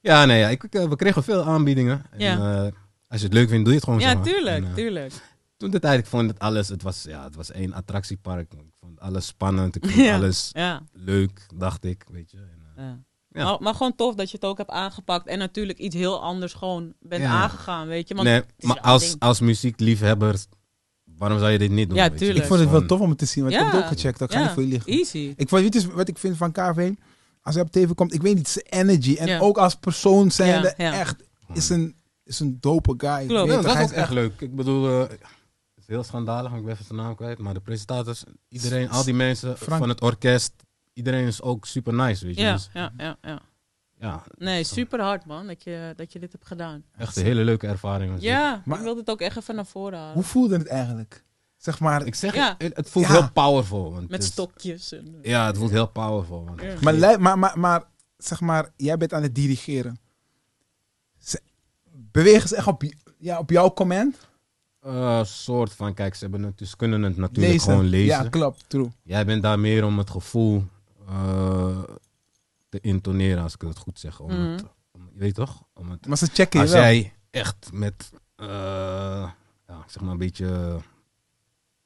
B: Ja, nee, ja, ik, ik, eh, we kregen veel aanbiedingen. En,
A: Ja.
B: eh, als je het leuk vindt, doe je het gewoon zo.
A: Ja,
B: maar. En,
A: tuurlijk,
B: eh,
A: tuurlijk.
B: Toen de tijd, ik vond het alles, het was, ja, het was één attractiepark. Ik vond alles spannend, ik vond
A: Ja.
B: alles
A: Ja.
B: leuk, dacht ik, weet je. En, eh,
A: ja.
B: Ja.
A: Maar, maar gewoon tof dat je het ook hebt aangepakt. En natuurlijk iets heel anders gewoon bent
B: Ja, ja.
A: aangegaan, weet je. Want
B: nee,
A: het is
B: maar
A: een oud
B: als,
A: ding.
B: als muziekliefhebber, waarom zou je dit niet doen?
A: Ja,
B: weet je?
A: tuurlijk.
C: Ik vond het wel
B: Gewoon-
C: tof om het te zien, want ik
A: Ja.
C: heb het ook gecheckt. Dat ga
A: Ja.
C: niet voor jullie liggen.
A: Easy.
C: Ik vond, weet je wat ik vind van KV? Als hij op tv komt, ik weet niet, zijn energy. En
A: Ja.
C: ook als persoon zijn
A: Ja, ja.
C: echt, is een, is een dope guy.
A: Klopt.
B: Ja,
C: Weet je,
B: dat
C: hij
B: was
C: is
B: ook echt leuk. Ik bedoel, eh, het is heel schandalig, want ik ben even zijn naam kwijt. Maar de presentators, iedereen, al die mensen
C: Frank.
B: van het orkest, iedereen is ook super nice, weet je.
A: Ja,
B: Dus,
A: ja, ja, ja.
B: ja,
A: Nee, super hard man dat je, dat je dit hebt gedaan.
B: echt een hele leuke ervaring. was dit.
A: Ja,
C: Maar-
A: ik wilde het ook echt even naar voren halen.
C: Hoe voelde het eigenlijk? Zeg maar,
B: Ik zeg,
A: Ja.
B: het, het voelt
C: Ja.
B: heel powerful. Want
A: Met
B: het is-
A: stokjes. En, eh.
B: Ja, het voelt heel powerful. Want
A: Ja.
C: maar, lij- maar, maar, maar, zeg maar, jij bent aan het dirigeren. Ze- bewegen ze echt op, j- ja, op jouw comment?
B: Eh, soort van, kijk, ze hebben het, dus kunnen het natuurlijk
C: Lezen.
B: gewoon lezen.
C: Ja, klopt, true.
B: Jij bent daar meer om het gevoel eh, te intoneren, als ik het goed zeg. Om
A: Mhm.
B: het, om- je weet toch? Om het
C: Maar ze checken je
B: Als
C: wel.
B: jij echt met, eh, ja, ik zeg maar een beetje,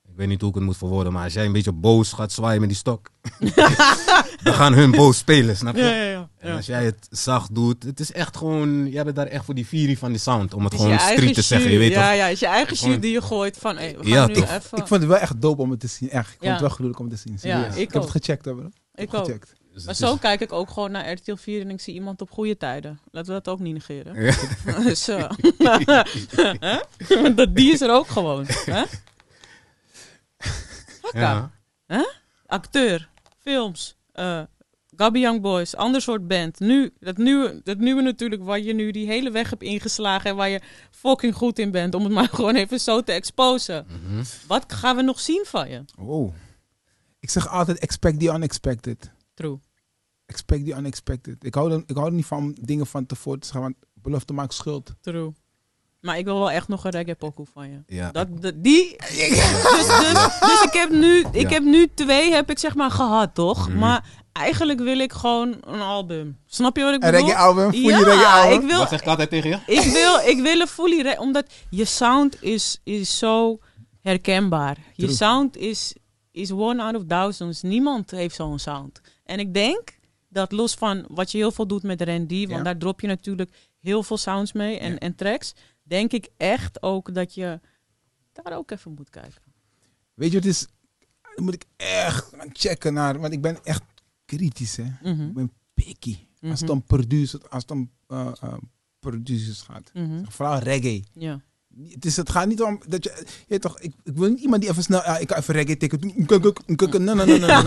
B: ik weet niet hoe ik het moet verwoorden, maar als jij een beetje boos gaat zwaaien met die stok, dan gaan hun boos spelen, snap je?
A: ja, ja.
B: En als jij het zacht doet, het is echt gewoon, jij bent daar echt voor die fury van die sound, om
A: Het
B: het
A: is
B: gewoon
A: je eigen
B: street te zeggen, je
A: jus.
B: weet
A: ja,
B: toch?
A: ja, het is je eigen
B: Gewoon-
A: jus die je gooit van, hey, we gaan
B: Ja,
A: nu
B: toch.
A: even.
C: Ik vond het wel echt dope om het te zien. Echt, ik vond
A: Ja.
C: het wel gruwelijk om het te zien. serieus.
A: ik
C: ik heb het
A: ook.
C: gecheckt hoor. Ik
A: Ik
C: heb
A: ook.
C: gecheckt.
B: Dus
A: Maar
B: het
A: zo
B: is-
A: kijk ik ook gewoon naar RTL 4 en ik zie iemand op goede tijden. Laten we dat ook niet negeren.
B: Ja.
A: dus, eh, hè? dat die is er ook gewoon. Hè? Hakka.
B: ja.
A: Acteur, films, eh Gabby Young Boys, ander soort band. Nu, dat, nieuwe, dat nieuwe natuurlijk waar je nu die hele weg hebt ingeslagen en waar je fucking goed in bent. Om het maar gewoon even zo te exposen.
B: Mhm.
A: Wat gaan we nog zien van je?
C: Wow. Ik zeg altijd expect the unexpected.
A: True.
C: Expect the unexpected. Ik hou er, ik hou er niet van om dingen van tevoren te zeggen, want belofte maakt schuld.
A: True. Maar ik wil wel echt nog een reggae pokoe van je.
B: Ja.
A: Dat, dat- die. Dus, dus, dus ik heb nu, ik
B: Ja.
A: heb nu twee heb ik zeg maar gehad, toch?
B: Mhm.
A: Maar eigenlijk wil ik gewoon een album. Snap je wat ik
C: Een
A: bedoel?
C: reggae album, voel je
A: ja,
C: reggae album?
A: ik wil,
B: Wat zeg ik altijd tegen je?
A: ik wil, ik wil een fully re- omdat je sound is, is zo herkenbaar. Je
C: True.
A: sound is, is one out of thousands. Niemand heeft zo'n sound. En ik denk dat los van wat je heel veel doet met Randy, want
C: Ja.
A: daar drop je natuurlijk heel veel sounds mee en,
C: Ja.
A: en tracks, denk ik echt ook dat je daar ook even moet kijken.
C: Weet je, het is. Dan moet ik echt gaan checken naar. Want ik ben echt kritisch, hè?
A: Mhm,
C: Ik ben picky. Als het
A: Mhm.
C: om producers, als het om, eh, eh, producers gaat.
A: mhm.
C: Vooral reggae.
A: Ja.
C: Het, is, het gaat niet om dat je. Je weet toch, ik, ik wil niet iemand die even snel. ah, ik kan even reggae tikken. Nee, nee, nee, nee, nee, nee,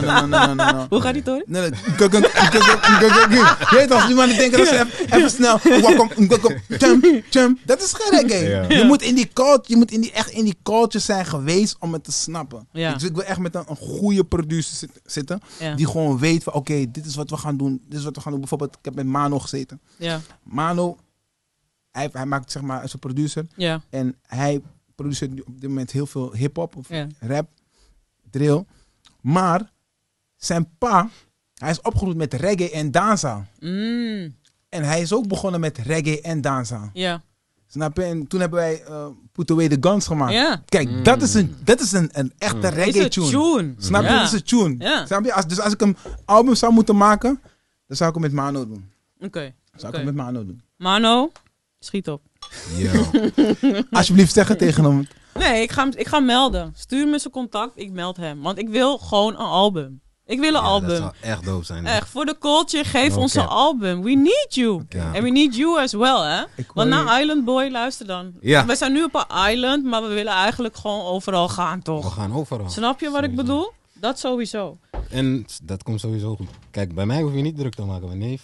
C: nee, nee, nee, nee.
A: Hoe gaat die door?
C: Nee, nee. Kuk, kuk, kuk, kuk, kuk, kuk. Je weet toch, als die mannen denken dat ze even, even snel, oh, wakkom, kuk, kuk, tjum, tjum. Dat is geen reggae.
B: Ja.
C: Je moet, in die cult, je moet in die, echt in die culture zijn geweest om het te snappen.
A: Ja.
C: Dus ik wil echt met een, een goede producer zit- zitten,
A: Ja.
C: die gewoon weet van, oké, dit is wat we gaan doen. Dit is wat we gaan doen. Bijvoorbeeld, ik heb met Mano gezeten.
A: Ja.
C: Mano, hij, hij maakt zeg maar, als een producer.
A: Ja.
C: En hij produceert nu op dit moment heel veel hip-hop of
A: Ja.
C: rap, drill. Maar zijn pa, hij is opgegroeid met reggae en danza.
A: Mm,
C: En hij is ook begonnen met reggae en danza.
A: ja.
C: Snap je? En toen hebben wij eh Put Away the Guns gemaakt.
A: Ja.
C: Kijk,
B: Mm.
C: dat is een, dat is een, een echte
A: Is een
C: Ah. reggae tune.
A: tune.
C: Snap je?
A: Ja.
C: Dat is een tune.
A: Ja.
C: Snap je? Als, dus als ik een album zou moeten maken, dan zou ik hem met Mano doen.
A: Oké.
C: Zou
A: Oké.
C: ik hem met Mano doen.
A: Mano, schiet op.
B: Ja.
C: Alsjeblieft zeg het tegen hem.
A: Nee, ik ga, hem, ik ga hem melden. Stuur me zijn contact, ik meld hem. Want ik wil gewoon een album. Ik wil een
B: Ja, Dat
A: album.
B: zou echt dope zijn.
A: Echt, voor de culture, geef
B: No
A: ons een
B: cap.
A: album. We need you.
B: Ja.
A: En we need you as well, hè?
C: Ik
A: Want
C: hoor
A: na Island Boy, luister dan.
B: Ja.
A: We zijn nu op een island, maar we willen eigenlijk gewoon overal gaan,
B: We
A: toch?
B: gaan overal.
A: Snap je wat ik
B: Oh. Sowieso.
A: bedoel? Dat sowieso.
B: En dat komt sowieso goed. Kijk, bij mij hoef je niet druk te maken, maar neef.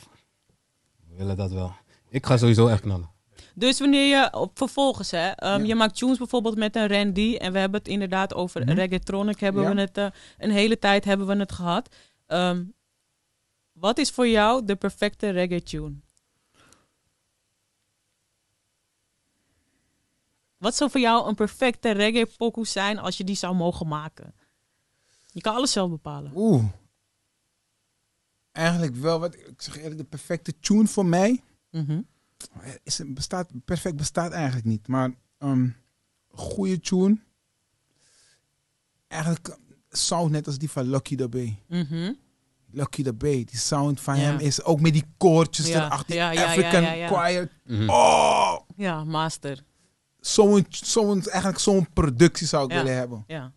B: We willen dat wel. Ik ga sowieso echt knallen.
A: Dus wanneer je op vervolgens, hè, ehm, je maakt tunes bijvoorbeeld met een Randy. En we hebben het inderdaad over reggaetronic. Hebben
C: Ja.
A: we het eh, een hele tijd hebben we het gehad. Ehm, wat is voor jou de perfecte reggae tune? Wat zou voor jou een perfecte reggae pokoe zijn als je die zou mogen maken? Je kan alles zelf bepalen.
C: Oeh. Eigenlijk wel, wat, ik zeg eerlijk, de perfecte tune voor mij
A: Mhm.
C: is, een- bestaat, perfect bestaat eigenlijk niet. Maar ehm goede tune. Eigenlijk sound net als die van Lucky the Bay.
A: Mhm.
C: Lucky the Bay, die sound van
A: Ja.
C: hem is ook met die koortjes
A: Ja,
C: erachter. die
A: ja, ja, ja,
C: African
A: ja, ja.
C: choir.
B: Mhm.
C: Oh!
A: Ja, master.
C: Zo'n, zo'n, eigenlijk zo'n productie zou ik
A: Ja.
C: willen hebben.
A: Ja.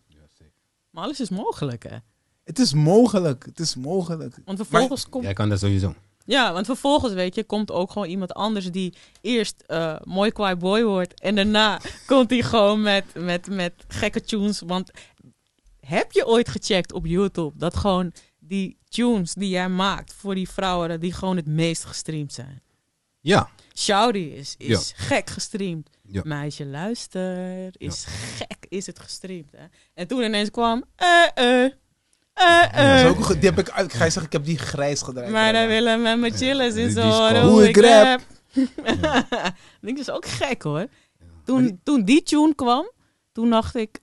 A: Maar alles is mogelijk, hè?
C: Het is mogelijk, het is mogelijk.
A: Want vervolgens komt
B: Jij kan dat sowieso.
A: Ja, want vervolgens, weet je, komt ook gewoon iemand anders die eerst eh, mooi kwaai boy wordt. En daarna komt hij gewoon met, met, met gekke tunes. Want heb je ooit gecheckt op YouTube dat gewoon die tunes die jij maakt voor die vrouwen, die gewoon het meest gestreamd zijn?
B: Ja.
A: Shoudy is, is gek gestreamd.
B: Ja.
A: Meisje, luister. Is gek is het gestreamd. Hè? En toen ineens kwam... eh eh eh
C: Dat
A: eh.
C: is ook, een ge- die heb ik, ik ga je zeggen, ik heb die grijs gedraaid.
A: Maar dan
C: Ja.
A: willen met mijn chillers
B: die-
A: in zo
B: die
A: horen hoe
B: score.
C: eh, Hoe
A: ik
C: ik rap.
A: rap. Niks is ook gek hoor. Toen die... toen die tune kwam, toen dacht ik,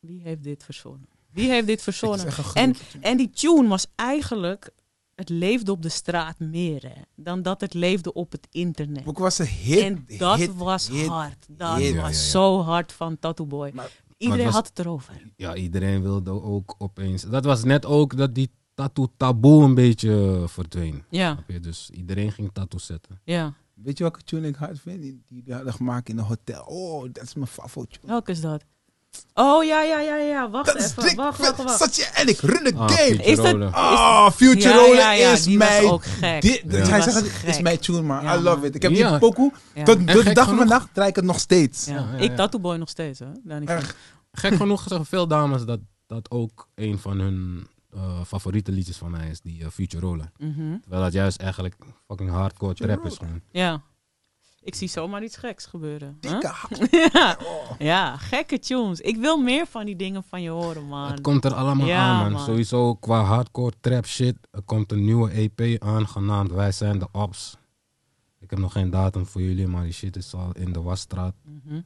A: wie heeft dit verzonnen? Wie heeft dit
C: Het is
A: verzonnen?
C: echt een
A: En,
C: grote tune.
A: en die tune was eigenlijk, het leefde op de straat meer hè, dan dat het leefde op het internet.
C: Ook was een hit.
A: en dat
C: hit,
A: was
C: hit.
A: hard. Dat was
B: hit. Ja, ja, ja.
A: zo hard van Tattoo Boy.
C: Maar-
A: Iedereen
B: was-
A: had het erover.
B: ja, iedereen wilde ook opeens. Dat was net ook dat die tattoo taboe een beetje verdween.
A: Ja,
B: Snap je? Dus iedereen ging tattoo zetten.
A: ja.
C: Weet je welke tune ik hard vind? Die, die die hadden gemaakt in een hotel. Oh, dat is mijn favoriet. tune.
A: Welke is dat? Oh ja, ja, ja, ja. Wacht
C: Dat is
A: even.
C: dik.
A: Wacht, wacht, wacht.
C: Zat je en ik run the
B: Ah,
C: game.
B: Future
A: Is dat-
B: Roller.
C: Ah, Future
A: Ja,
C: Roller
A: ja, ja,
C: is
A: die was
C: mijn.
A: ook gek.
C: Dit,
B: Ja.
C: Hij
A: Die was
C: zegt, het is
A: gek.
C: mijn tune, man.
A: Ja,
C: I love
A: man.
C: it. Ik heb
B: Ja.
C: die pokoe.
A: Ja.
C: Tot
B: En
C: tot de
B: gek
C: dag van
B: genoeg-
C: vandaag draai ik het nog steeds.
A: Ja.
B: Ja, ja,
A: Ik
B: ja.
A: Tattoo Boy nog steeds, hè? Danny
C: Echt.
A: Frank.
B: Gek genoeg zeggen veel dames dat dat ook een van hun eh, favoriete liedjes van mij is, die eh, Future Roller.
A: Mhm.
B: Terwijl dat juist eigenlijk fucking hardcore
C: Future
B: trap is
C: Roller.
B: gewoon.
A: Ja. Ik zie zomaar iets geks gebeuren. hè?
C: Dikke hak.
A: ja.
C: Oh.
A: ja, gekke tunes. Ik wil meer van die dingen van je horen, man.
B: Het komt er allemaal
A: Ah, Ja,
B: aan, man.
A: man.
B: Sowieso qua hardcore trap shit. Er komt een nieuwe EP aan, genaamd Wij zijn de Ops. Ik heb nog geen datum voor jullie, maar die shit is al in de wasstraat.
A: Mhm.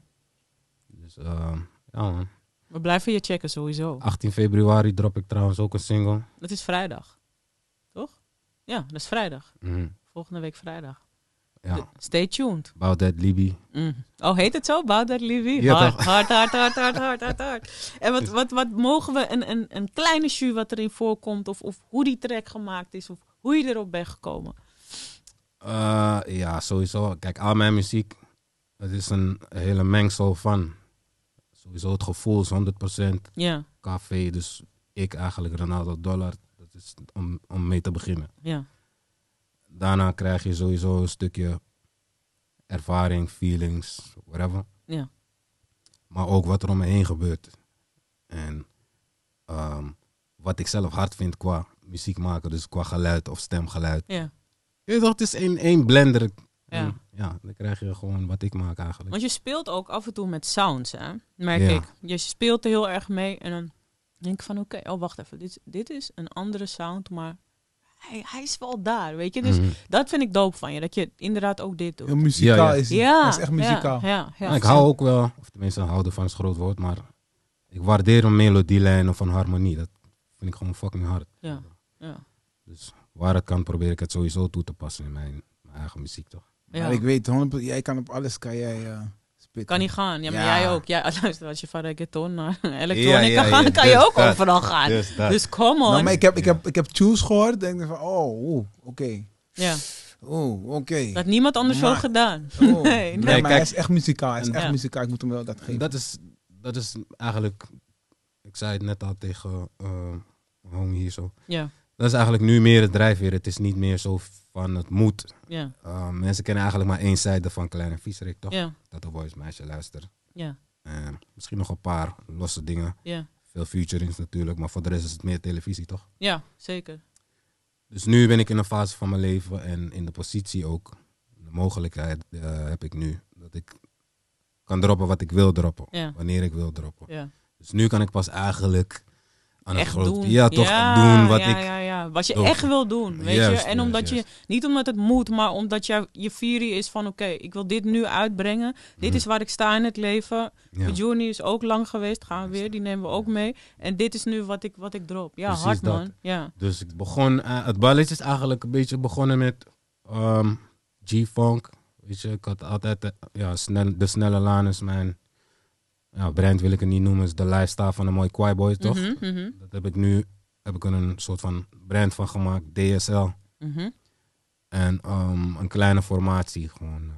B: Dus eh, ja, man.
A: We blijven je checken sowieso.
B: 18 februari drop ik trouwens ook een single.
A: Dat is vrijdag. Toch? Ja, dat is vrijdag.
B: Mhm.
A: Volgende week vrijdag.
B: Ja,
A: Stay tuned.
B: About That Libby.
A: Mm. Oh, heet het zo? Bouw dat Livy?
B: Ja,
A: hard,
B: toch?
A: hard, hard, hard, hard, hard, hard, hard. En wat, wat, wat mogen we, een, een, een kleine jus wat erin voorkomt, of, of hoe die track gemaakt is, of hoe je erop bent gekomen?
B: Eh, ja, sowieso. Kijk, al mijn muziek, het is een hele mengsel van. Sowieso het gevoel is 100%
A: Ja,
B: café. Dus ik eigenlijk, Ronaldo Dollar. Dat is om, om mee te beginnen.
A: ja.
B: daarna krijg je sowieso een stukje ervaring, feelings, whatever.
A: Ja.
B: Maar ook wat er om me heen gebeurt. En ehm, wat ik zelf hard vind qua muziek maken, dus qua geluid of stemgeluid.
A: Ja,
B: Je weet toch, het is één, één blender.
A: ja.
B: En ja, dan krijg je gewoon wat ik maak eigenlijk.
A: Want je speelt ook af en toe met sounds, hè? Merk
B: Ja.
A: ik. Je speelt er heel erg mee en dan denk ik van, oké, oh, wacht even. Dit, dit is een andere sound, maar hij, hij is wel daar, weet je? Dus
B: Mhm.
A: dat vind ik dope van je, dat je inderdaad ook dit doet.
C: Heel muzikaal
B: Ja, ja.
C: is hij.
A: Ja,
C: Hij is echt muzikaal.
A: Ja, ja, ja.
B: Nou, ik hou ook wel, of tenminste houden van is een groot woord, maar ik waardeer een melodielijn of een harmonie. Dat vind ik gewoon fucking hard.
A: Ja, ja.
B: Dus waar het kan, probeer ik het sowieso toe te passen in mijn, mijn eigen muziek, toch?
A: Ja.
C: Maar ik weet, 100%, jij kan op alles, kan jij eh, spitten.
A: Kan niet gaan. Ja, maar
C: Ja.
A: jij ook. Jij, luister, als je van reggaeton naar
B: Ja,
A: elektronica
B: ja, ja,
A: gaat, kan je
B: dus
A: ook
B: dat.
A: overal gaan. Dus,
B: Dus dat.
A: come on.
C: Nou, maar ik heb, ik
B: Ja.
C: heb, ik heb tunes gehoord. en denk ik van, oh, oeh, oké.
A: ja,
C: Oh, oké.
A: dat had niemand anders zo
C: Maar-
A: gedaan.
C: Oh.
A: Nee,
C: Nee,
A: nee.
B: kijk.
C: maar hij is echt muzikaal. Hij is echt
A: Ja.
C: muzikaal. Ik moet hem wel dat geven.
B: dat, is, dat is eigenlijk, ik zei het net al tegen eh, hong hier zo.
A: Ja,
B: Dat is eigenlijk nu meer het drijfveer. Het is niet meer zo van het moet.
A: ja,
B: Uh, mensen kennen eigenlijk maar één zijde van Kleine Vieserik, toch?
A: ja,
B: Dat de Boys meisje luistert.
A: ja,
B: En misschien nog een paar losse dingen.
A: ja.
B: Veel featurings natuurlijk, maar voor de rest is het meer televisie, toch?
A: Ja, zeker.
B: Dus nu ben ik in een fase van mijn leven en in de positie ook. De mogelijkheid eh, heb ik nu. Dat ik kan droppen wat ik wil droppen.
A: Ja,
B: Wanneer ik wil droppen.
A: ja.
B: Dus nu kan ik pas eigenlijk aan het
A: Echt
B: grote-
A: doen.
B: Ja, toch doen wat
A: ja,
B: ik...
A: Ja, ja, wat je
B: wil.
A: echt wil doen, weet
B: Juist,
A: je. En omdat
B: juist,
A: je, niet omdat het moet, maar omdat je, je fury is van... Oké, ik wil dit nu uitbrengen. Dit
B: Mhm.
A: is waar ik sta in het leven.
B: Ja.
A: De journey is ook lang geweest. Gaan we weer, die nemen we ook mee. En dit is nu wat ik, wat ik drop. Ja,
B: Precies
A: hard
B: dat.
A: man. Ja,
B: Dus ik begon, eh, het balletje is eigenlijk een beetje begonnen met ehm, G-Funk. Weet je, ik had altijd, eh, ja, snel, de snelle laan is mijn, ja, brand wil ik het niet noemen, is de lifestyle van een mooi kwaai boy, toch?
A: Mhm, mhm,
B: Dat heb ik nu, heb ik er een soort van brand van gemaakt, DSL.
A: mhm.
B: En ehm, een kleine formatie, gewoon eh,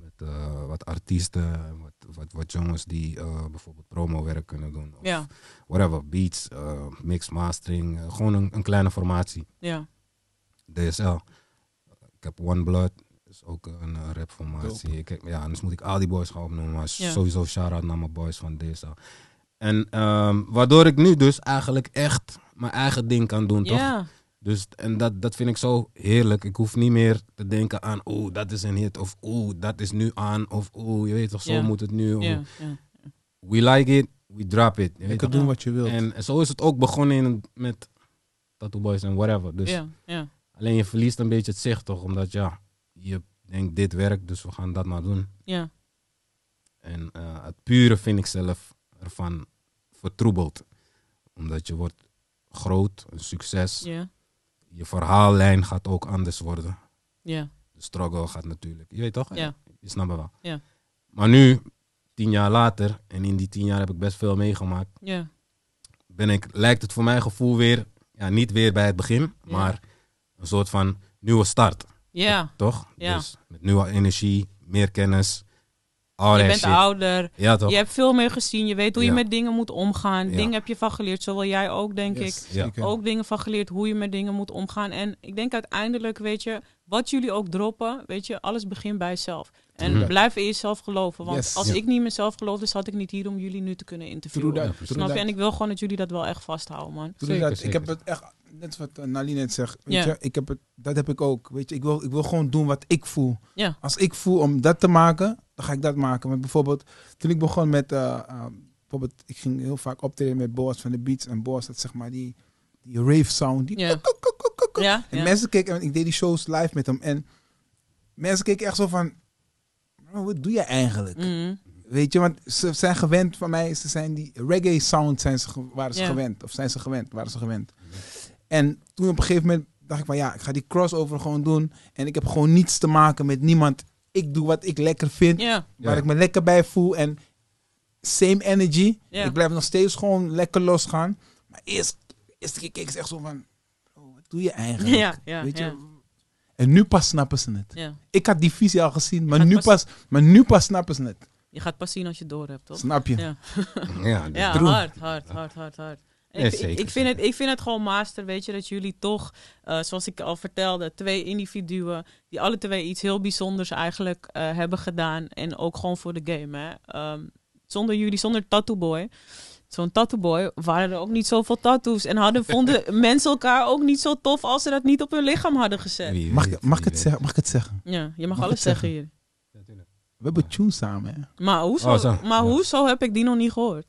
B: met eh, wat artiesten, en wat, wat, wat jongens die eh, bijvoorbeeld promowerk kunnen doen. Of
A: Ja,
B: whatever, beats, eh, mix, mastering, eh, gewoon een, een kleine formatie.
A: ja,
B: DSL. Ik heb One Blood, is ook een eh, rapformatie. Ik heb, ja, anders moet ik al die boys gaan opnoemen. Maar
A: Ja.
B: sowieso shout-out naar mijn boys van DSL. En ehm, waardoor ik nu dus eigenlijk echt mijn eigen ding kan doen, toch?
A: ja,
B: Dus, en dat, dat vind ik zo heerlijk. Ik hoef niet meer te denken aan, oeh, dat is een hit. Of oeh, dat is nu aan. Of oeh, je weet toch, zo
A: Ja.
B: moet het nu.
A: ja, ja.
B: We like it, we drop it. Je weet
C: Lekker
B: toch?
C: doen wat je wilt.
B: En zo is het ook begonnen in, met Tattoo Boys en whatever. Dus
A: ja, ja.
B: Alleen je verliest een beetje het zicht toch, omdat ja, je denkt dit werkt, dus we gaan dat maar doen.
A: ja.
B: En eh, het pure vind ik zelf ervan vertroebeld. Omdat je wordt groot, een succes.
A: Ja,
B: Je verhaallijn gaat ook anders worden.
A: ja,
B: De struggle gaat natuurlijk, je weet toch?
A: Ja.
B: Je snapt me wel.
A: Ja.
B: Maar nu, tien jaar later, en in die tien jaar heb ik best veel meegemaakt.
A: ja,
B: ben ik, lijkt het voor mijn gevoel weer, ja, niet weer bij het begin,
A: Ja.
B: maar een soort van nieuwe start,
A: ja.
B: toch?
A: Ja.
B: Dus met nieuwe energie, meer kennis, all
A: Je
B: that
A: bent
B: Oh, shit.
A: ouder.
B: Ja, toch?
A: Je hebt veel meer gezien. Je weet hoe je
B: Ja.
A: met dingen moet omgaan.
B: Ja.
A: Dingen heb je van geleerd. Zowel jij ook, denk ik.
C: Yes,
B: Ja.
C: zeker.
A: Ook dingen van geleerd hoe je met dingen moet omgaan. En ik denk uiteindelijk, weet je, wat jullie ook droppen, weet je, alles begint bij jezelf. En
B: True that.
A: blijf in jezelf geloven. Want
C: Yes.
A: als
B: Ja.
A: ik niet in mezelf geloofde, zat ik niet hier om jullie nu te kunnen
C: True
A: interviewen.
C: that,
B: Ja,
C: true
A: Snap
C: that.
A: je? En ik wil gewoon dat jullie dat wel echt vasthouden, man.
C: Doe
B: Zeker,
C: dat.
B: zeker.
C: Ik heb het echt, net wat eh, Nali net zegt, weet
A: Ja.
C: je, ik heb het, dat heb ik ook. Weet je, ik wil, ik wil gewoon doen wat ik voel.
A: Ja.
C: Als ik voel om dat te maken, dan ga ik dat maken. Want bijvoorbeeld, toen ik begon met, eh, eh, bijvoorbeeld, ik ging heel vaak optreden met Boas van de Beats en Boas, dat zeg maar die, die rave sound. Die
A: Ja.
C: kuk, kuk, kuk, kuk, kuk.
A: Ja,
C: En
A: ja.
C: mensen keken, want ik deed die shows live met hem en mensen keken echt zo van, "Bro, wat doe je eigenlijk?
A: Mhm.
C: Weet je, want ze zijn gewend van mij, ze zijn die reggae sound zijn ze, ge- waren ze
A: Ja.
C: gewend. Of zijn ze gewend, waren ze gewend. En toen op een gegeven moment dacht ik van ja, ik ga die crossover gewoon doen. En ik heb gewoon niets te maken met niemand. Ik doe wat ik lekker vind,
A: ja,
C: waar
B: Ja.
C: ik me lekker bij voel. En same energy.
A: Ja.
C: Ik blijf nog steeds gewoon lekker losgaan. Maar eerst, eerst keer keek ze echt zo van, "Bro, wat doe je eigenlijk?
A: ja, ja,
C: Weet je?
A: ja.
C: En nu pas snappen ze het.
A: ja.
C: Ik had die visie al gezien, maar
A: Gaat
C: nu
A: pas-
C: pas, maar nu pas snappen ze het.
A: Je gaat pas zien als je het door hebt, toch?
C: Snap je?
A: Ja.
B: Ja, dus-
A: Ja,
C: Droom.
A: hard, hard, hard, hard, hard. En
B: Ja,
A: ik, ik,
B: zeker,
A: ik, vind het, ik vind het gewoon master, weet je, dat jullie toch, eh, zoals ik al vertelde, twee individuen die alle twee iets heel bijzonders eigenlijk eh, hebben gedaan. En ook gewoon voor de game. Hè. Ehm, zonder jullie, zonder Tattoo Boy. Zo'n Tattoo Boy waren er ook niet zoveel tattoos. En hadden, vonden mensen elkaar ook niet zo tof als ze dat niet op hun lichaam hadden gezet.
B: Wie
C: Mag,
B: weet,
C: ik- mag, ik
B: wie
C: het zeggen, mag ik het zeggen?
A: Ja, je mag,
C: Mag
A: alles
C: ik zeggen?
A: zeggen hier.
B: weet. Ja, tuurlijk.
C: We hebben tunes samen. Hè?
A: Maar hoezo,
B: Oh, zo.
A: maar
B: Ja.
A: hoezo heb ik die nog niet gehoord?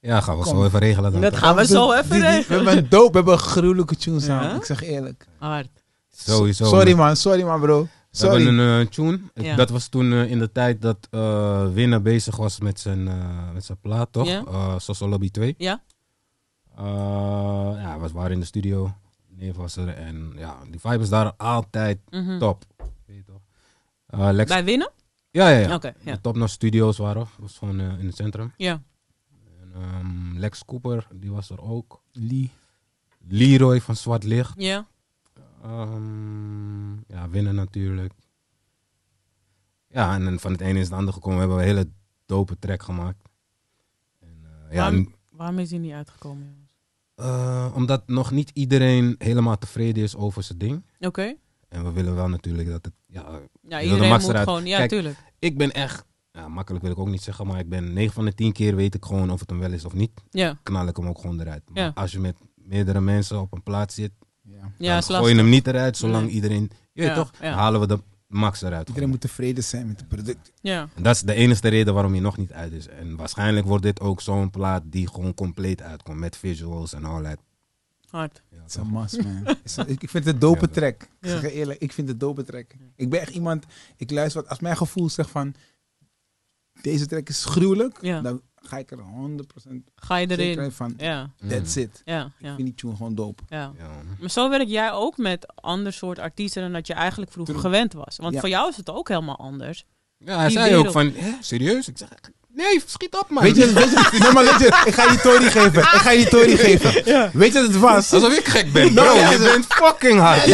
B: Ja, gaan we
C: Kom.
B: zo even regelen dan.
A: Dat
B: toch?
A: gaan we zo
C: Die-
A: even
C: die- We
A: regelen.
C: hebben een doop, we hebben een gruwelijke tune samen.
A: Ja?
C: Ik zeg eerlijk.
A: Hard.
B: Sowieso.
C: Sorry man, sorry man bro.
B: We hebben
C: Sorry.
B: een eh, tune. Ik-
A: Ja.
B: Dat was toen eh, in de tijd dat eh Winner bezig was met zijn, eh, met zijn plaat, toch?
A: Ja.
B: Eh, Soso Lobby 2.
A: Ja?
B: Eh, ja, we waren in de studio. Neef was er. En ja, die vibe is daar altijd
A: Mhm.
B: top. Weet je toch? Eh, Lex,
A: Bij winnen?
B: ja, ja, ja.
A: Oké, ja.
B: De Topnotch Studios waren. we. was gewoon eh, in het centrum.
A: Ja.
B: En, ehm, Lex Cooper, die was er ook.
C: Lee.
B: Leroy van Zwart Licht.
A: Ja.
B: Ehm, ja, winnen natuurlijk. Ja, en dan van het ene is het andere gekomen. We hebben een hele dope track gemaakt. En, eh, ja,
A: Waarom-
B: n-
A: Waarom is die niet uitgekomen, jongens?
B: eh, omdat nog niet iedereen helemaal tevreden is over zijn ding.
A: Oké.
B: En we willen wel natuurlijk dat het... Ja,
A: Ja,
B: de
A: iedereen
B: max
A: moet
B: eruit.
A: gewoon... Ja,
B: Kijk,
A: tuurlijk.
B: ik ben echt... Ja, makkelijk wil ik ook niet zeggen, maar ik ben 9 van de 10 keer weet ik gewoon of het hem wel is of niet.
A: Ja,
B: Knal ik hem ook gewoon eruit. Maar
A: Ja.
B: als je met meerdere mensen op een plaats zit,
C: Ja.
A: ja
B: dan
A: is
B: gooi je
A: lastig.
B: hem niet eruit zolang
A: Nee.
B: iedereen... Je weet
A: Ja,
B: toch?
A: ja.
B: Dan halen we de max eruit.
C: Iedereen moet tevreden zijn met het product.
A: Ja.
B: En dat is de enige reden waarom hij nog niet uit is. En waarschijnlijk wordt dit ook zo'n plaat die gewoon compleet uitkomt. Met visuals en al dat.
A: Hard.
B: Ja,
C: It's a
B: toch?
C: must, man. It's a- ik ik vind het een dope
B: Ja.
C: track. Ik
A: Ja.
C: zeg je eerlijk, ik vind het een dope track. Ik ben echt iemand, ik luister wat, als mijn gevoel zegt van, deze track is gruwelijk,
A: Ja.
C: dan ga ik er 100%
A: Ga je erin.
C: zeker van,
A: Ja,
C: that's
B: Mm.
C: it.
A: ja,
C: Ik
A: ja,
C: vind die tune gewoon dope.
A: ja.
B: Ja.
A: Maar zo werk jij ook met ander soort artiesten dan dat je eigenlijk vroeger
C: True.
A: gewend was. Want
C: Ja.
A: voor jou is het ook helemaal anders.
B: ja, hij
A: Die
B: zei ook
A: wereld.
B: van, "Hè, serieus? Ik zeg, nee, schiet op man.
C: Weet je, weet je, nee, maar weet je, ik ga je die Tory geven. Ik ga je die Tory geven. Weet je wat het was?
B: Alsof ik gek ben,
C: Nou,
B: bro.
C: ja,
B: je
C: ze-
B: bent fucking hard.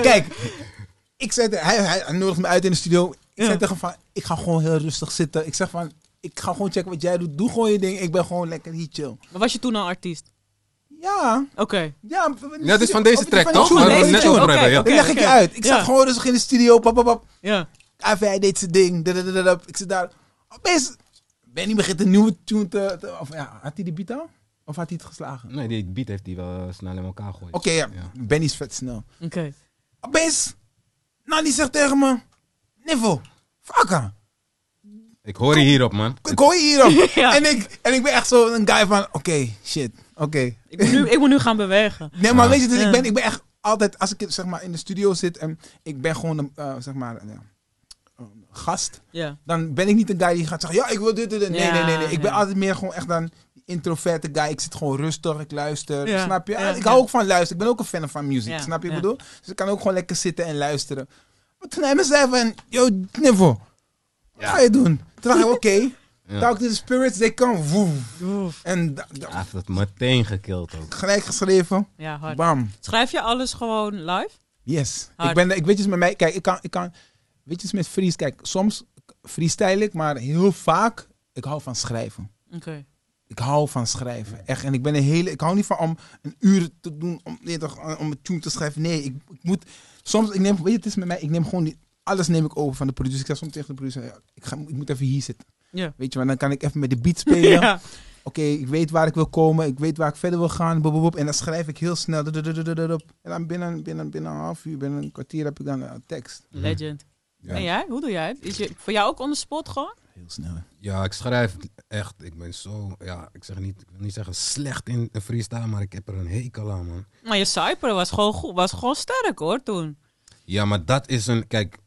C: Kijk, ik zei, tegen- hij, hij, hij nodigt me uit in de studio. Ik zei tegen hem van, ik ga gewoon heel rustig zitten. Ik zeg van, ik ga gewoon checken wat jij doet. Doe gewoon je ding. Ik ben gewoon lekker hier chill.
A: Maar was je toen al artiest?
C: Ja,
A: Oké.
C: ja. maar- maar-
B: Ja, het is van deze
C: of-
B: track,
C: Oh, van
B: toch?
C: tune,
B: Waar we
C: van
B: het
C: deze
B: net
C: tune.
B: over hebben. Ja.
A: Oké,
C: Ik leg ik
A: oké.
C: uit. Ik
A: Ja.
C: zat gewoon rustig in de studio. Pap, pap, pap.
A: Ja.
C: AVI deed zijn ding. dadadadadap. Ik zit daar. Opeens, Benny begint een nieuwe tune te... te- of, ja, had hij de beat al? Of had hij het geslagen? Oké,
B: Nee, die beat heeft hij wel eh, snel in elkaar gegooid.
C: ja.
B: Ja.
C: Benny is vet snel.
A: Oké.
C: Opeens, Nani zegt tegen me... Niffel, fucker.
B: Ik hoor je hierop, man.
C: Ik hoor je hierop.
A: Ja.
C: en, ik, en ik ben echt zo een guy van... Oké, shit. Oké.
A: Ik, moet nu, ik moet nu gaan bewegen.
C: Nee, maar
B: Ja.
C: weet je, dus
A: Ja.
C: ik, ben, ik ben echt altijd... Als ik zeg maar, in de studio zit en ik ben gewoon een, eh, zeg maar, eh, een gast...
A: Ja.
C: dan ben ik niet een guy die gaat zeggen, ja, ik wil dit, dit, dit. Nee,
A: Ja,
C: nee, nee, nee. Ik ben
A: nee.
C: altijd meer gewoon echt dan die introverte guy. Ik zit gewoon rustig, ik luister,
A: Ja,
C: snap je?
A: ja,
C: ik hou
A: ja.
C: ook van luisteren. Ik ben ook een fan van muziek,
A: Ja,
C: snap je?
A: ja.
C: wat Ik bedoel, dus ik kan ook gewoon lekker zitten en luisteren. Maar toen hij me zei van, yo, Nivo, wat
B: Ja.
C: ga je doen? Toen dacht ik, oké,
B: Ja.
C: talk to the spirits, they come, woef.
A: Oef.
C: En da- da-
B: Hij heeft het meteen gekild ook.
C: gelijk geschreven,
A: Ja, hard.
C: bam.
A: Schrijf je alles gewoon live?
C: Yes.
A: Hard.
C: Ik ben, ik weet je, met mij, kijk, ik kan, ik kan, weet je, met freeze, kijk, soms freestyle ik, maar heel vaak, ik hou van schrijven.
A: Oké.
C: Ik hou van schrijven, echt. En ik ben een hele. Ik hou niet van om een uur te doen om, nee, toch, om een tune te schrijven. Nee, ik, ik moet. Soms, ik neem, weet je, het is met mij. Ik neem gewoon die- alles neem ik over van de producer. Ik zeg soms tegen de producer, ja, ik, ga, ik moet even hier zitten.
A: Ja.
C: Weet je, want dan kan ik even met de beat spelen.
A: Ja.
C: Oké, ik weet waar ik wil komen. Ik weet waar ik verder wil gaan. Bob, bob, bob. En dan schrijf ik heel snel. dududududududup. En dan binnen, binnen, binnen een half uur, binnen een kwartier heb ik dan een tekst.
A: Legend.
B: Ja.
A: En jij? Hoe doe jij het? Is je voor jou ook on the spot gewoon?
C: Heel snel.
B: Ja, ik schrijf echt. Ik ben zo, ja, ik zeg niet, ik wil niet zeggen slecht in freestyle, maar ik heb er een hekel aan, man.
A: Maar je cyper was gewoon, goed, was gewoon sterk hoor toen.
B: Ja, maar dat is een. Kijk,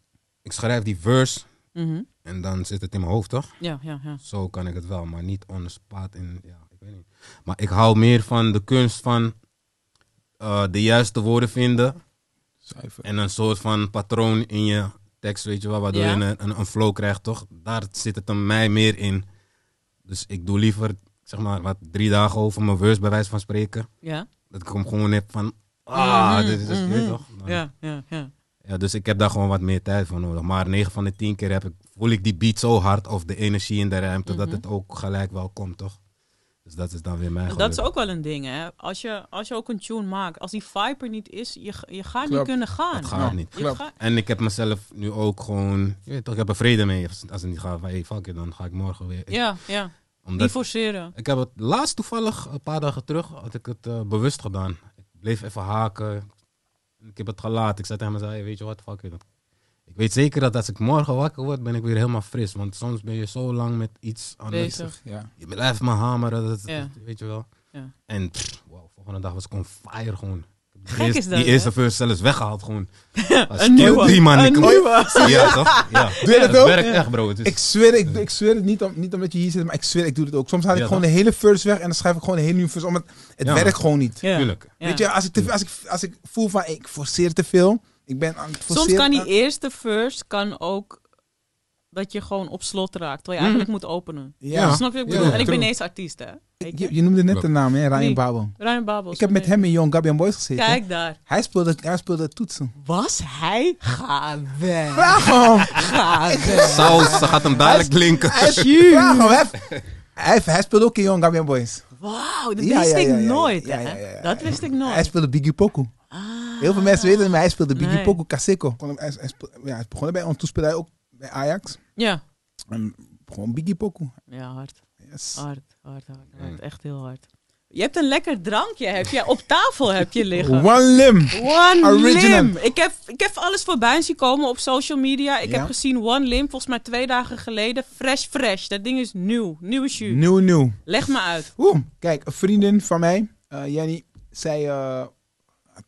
B: ik schrijf die verse
A: Mhm.
B: en dan zit het in mijn hoofd, toch?
A: Ja, ja, ja.
B: Zo kan ik het wel, maar niet on the spot in. Ja, ik weet niet. Maar ik hou meer van de kunst van eh, de juiste woorden vinden
C: Zuiver.
B: en een soort van patroon in je tekst, weet je wel, waardoor
A: Ja.
B: je een, een, een flow krijgt, toch? Daar zit het dan mij meer in. Dus ik doe liever, zeg maar, wat drie dagen over mijn verse, bij wijze van spreken.
A: Ja,
B: Dat ik hem gewoon heb van. Ah,
A: Mhm,
B: dit is dit is-
A: mhm.
B: toch? Dan-
A: ja, ja. ja.
B: Ah. Ja, dus ik heb daar gewoon wat meer tijd voor nodig. Maar 9 van de 10 keer heb ik, voel ik die beat zo hard of de energie in de ruimte
A: Mhm.
B: dat het ook gelijk wel komt, toch? Dus dat is dan weer mijn
A: Dat is
B: geluk.
A: ook wel een ding, hè? Als je, als je ook een tune maakt, als die Viper niet is, je, ga- je gaat
C: Klopt.
A: niet kunnen gaan.
B: Het gaat
C: Ja,
B: niet.
A: Je
C: klopt.
A: ga-
B: En ik heb mezelf nu ook gewoon, je weet toch, ik heb er vrede mee. Als- Als het niet gaat, van hey, fuck it, dan ga ik morgen weer.
A: ja, ja.
B: Omdat
A: Niet forceren.
B: ik heb het laatst toevallig, een paar dagen terug, had ik het eh, bewust gedaan. Ik bleef even haken. Ik heb het gelaten. Ik zei tegen mezelf, hey, weet je wat, fuck it. Ik weet zeker dat als ik morgen wakker word, ben ik weer helemaal fris. Want soms ben je zo lang met iets anders.
A: Bezig.
C: Ja.
B: Je blijft maar hameren, dat, dat-
A: Ja.
B: weet je wel.
A: Ja.
B: En pff, wow, volgende dag was ik on fire gewoon. Die
A: Gek
B: eerste-
A: is dat,
B: Die
A: hè?
B: eerste verse zelfs weggehaald gewoon. Als
A: Een nieuwe.
B: Die man,
A: een
B: ik
A: nieuwe.
B: Ja, toch? Ja.
C: Doe je dat
B: Het
C: ook?
B: werkt echt, bro. Het is,
C: Ik zweer, ik, ik zweer het niet, om, niet omdat je hier zit, maar ik zweer, ik doe het ook. Soms haal ik
B: Ja,
C: gewoon de hele verse weg en dan schrijf ik gewoon een hele nieuwe verse. Omdat het
B: Ja, man.
C: werkt gewoon niet.
A: Ja.
B: Tuurlijk.
A: Ja.
C: Weet je, als ik, te, als, ik, als ik voel van ik forceer te veel, ik ben aan het forceren.
A: Soms kan die
C: aan-
A: eerste verse kan ook dat je gewoon op slot raakt, terwijl je eigenlijk moet openen.
C: Ja.
A: Snap je wat ik
B: Mhm. Ja,
A: bedoel?
B: ja.
A: En ik ben
C: True.
A: ineens artiest, hè? Weet je?
C: Je, je noemde net de naam, hè, Ryan
A: Wie?
C: Babel.
A: Ryan Babels.
C: Ik heb met
A: nee.
C: hem in Young Gabi and Boys gezeten.
A: Kijk daar.
C: Hij speelde, hij speelde toetsen.
A: Was hij? Ga weg.
C: Vraag hem!
A: Ga weg.
B: Saus, ze gaat hem dadelijk linken.
C: Vraag hem! Hij, hij, hij speelde ook in Young Gabi and Boys.
A: Wauw, dat
C: Ja,
A: wist
C: ja,
A: ik
C: ja, ja, ja.
A: nooit.
C: Ja,
A: hè?
C: ja, ja, ja.
A: Dat wist ik
C: Hij
A: nooit.
C: speelde Biggie Poku.
A: Ah.
C: Heel veel mensen weten het, maar hij speelde Biggie
A: Nee.
C: Poku, Kaseko. Kon hem- Hij, hij spe- ja, hij is begonnen bij ons, toen speelde hij ook bij Ajax.
A: Ja.
C: En gewoon Biggie Poku.
A: ja, hard.
C: Yes.
A: Hard, hard, hard. hard.
B: Mm.
A: Echt heel hard. Je hebt een lekker drankje, heb je. Op tafel heb je liggen.
C: One limb.
A: One
C: Original.
A: Limb. Ik heb, ik heb alles voorbij zien komen op social media. Ik
C: Ja.
A: heb gezien One Limb, volgens mij twee dagen geleden. Fresh, fresh. Dat ding is nieuw. Nieuwe jus.
C: Nieuw, nieuw.
A: Leg me uit.
C: Oeh, kijk, een vriendin van mij, eh Jenny, zij eh,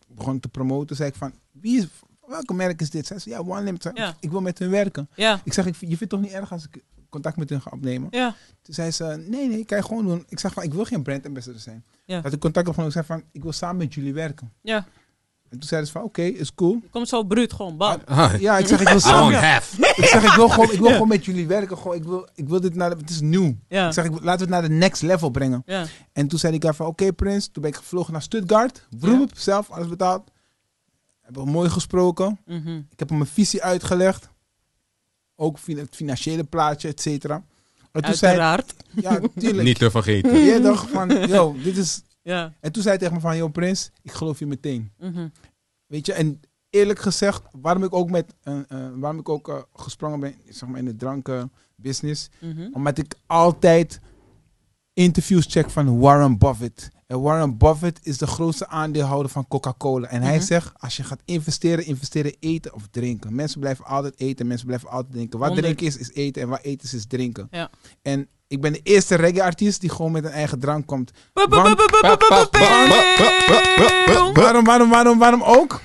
C: begon te promoten. Zei ik van, wie is, welke merk is dit? Zij zei, ja, One Limb. Ik zei,
A: Ja.
C: Ik wil met hun werken.
A: Ja,
C: Ik zeg, ik, vind- je vindt het toch niet erg als ik contact met hun ga opnemen?
A: ja,
C: Toen zei ze, nee, nee, kan je gewoon doen. Ik zeg van, ik wil geen brand ambassador zijn.
A: Ja.
C: Dat ik contact opgenomen, ik zei van, ik wil samen met jullie werken.
A: ja.
C: En toen zeiden ze van, oké, is cool.
A: Komt zo bruut gewoon. Bam.
B: Ah, I
C: Ja, ik zeg, ik wil
B: don't
C: samen.
B: have.
C: Ik zeg, ik wil gewoon, ik wil gewoon met jullie werken. Gewoon, ik, wil, ik wil dit naar, de- het is nieuw.
A: Ja,
C: Ik zeg, ik, wil- laten we het naar de next level brengen.
A: ja.
C: En toen zei ik daar van, oké Prins, toen ben ik gevlogen naar Stuttgart. Vroom, zelf, alles betaald. Hebben we mooi gesproken.
A: Mhm.
C: Ik heb hem mijn visie uitgelegd. Ook fin- het financiële plaatje, et cetera. En toen zei
A: Uiteraard.
C: ja, tuurlijk.
B: Niet te vergeten.
C: Je dacht van, yo, dit is...
A: Ja.
C: En toen zei hij tegen me van, yo Prins, ik geloof je meteen.
A: mhm.
C: Weet je, en eerlijk gezegd, waarom ik ook, met, eh, eh, waarom ik ook eh, gesprongen ben zeg maar, in de drankenbusiness...
A: Mhm.
C: Omdat ik altijd interviews check van Warren Buffett. En Warren Buffett is de grootste aandeelhouder van Coca-Cola. En hij
A: Mhm.
C: zegt, als je gaat investeren, investeren eten of drinken. Mensen blijven altijd eten, mensen blijven altijd drinken. Wat
A: Honderd.
C: drinken is, is eten. En wat eten is, is drinken.
A: Ja.
C: En ik ben de eerste reggae-artiest die gewoon met een eigen drank komt.
A: Ba- ba- ba- ba- ba- ba- ba- ba- ba-
C: Waarom, waarom, waarom, waarom ook?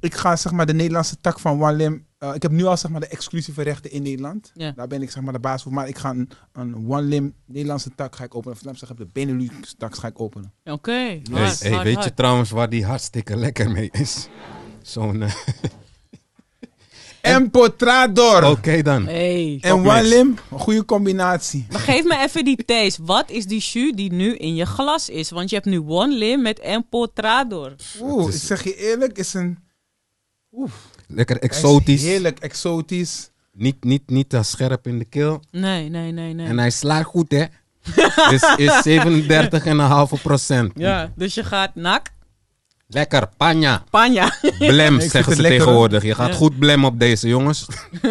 C: Ik ga zeg maar de Nederlandse tak van One Lim. eh, ik heb nu al zeg maar de exclusieve rechten in Nederland.
A: Ja.
C: Daar ben ik zeg maar de baas voor. Maar ik ga een, een One Lim Nederlandse tak ga ik openen. Of laat ik zeggen, de Benelux tak ga ik openen.
A: Oké.
B: Hey,
A: Hard,
B: hey,
A: hard,
B: weet je
A: hard.
B: trouwens waar die hartstikke lekker mee is? Zo'n... eh,
C: Empotrador
B: Oké dan.
A: Hey.
C: en One
B: topmix.
C: Lim, een goede combinatie.
A: Maar geef me even die taste. Wat is die jus die nu in je glas is? Want je hebt nu One Limb met Empotrador.
C: Oeh,
B: het
C: ik
B: is
C: zeg je eerlijk, is een oeh,
B: lekker
C: hij is
B: exotisch.
C: Heerlijk exotisch.
B: Niet, niet, niet te scherp in de keel.
A: Nee, nee, nee, nee.
B: En hij slaat goed, hè? is is 37,5 procent.
A: Ja, dus je gaat nak,
B: Lekker, panja.
A: panja.
B: Blem,
C: vind
B: zeggen ze
C: het lekker,
B: tegenwoordig. Je gaat
A: Ja.
B: goed blem op deze, jongens.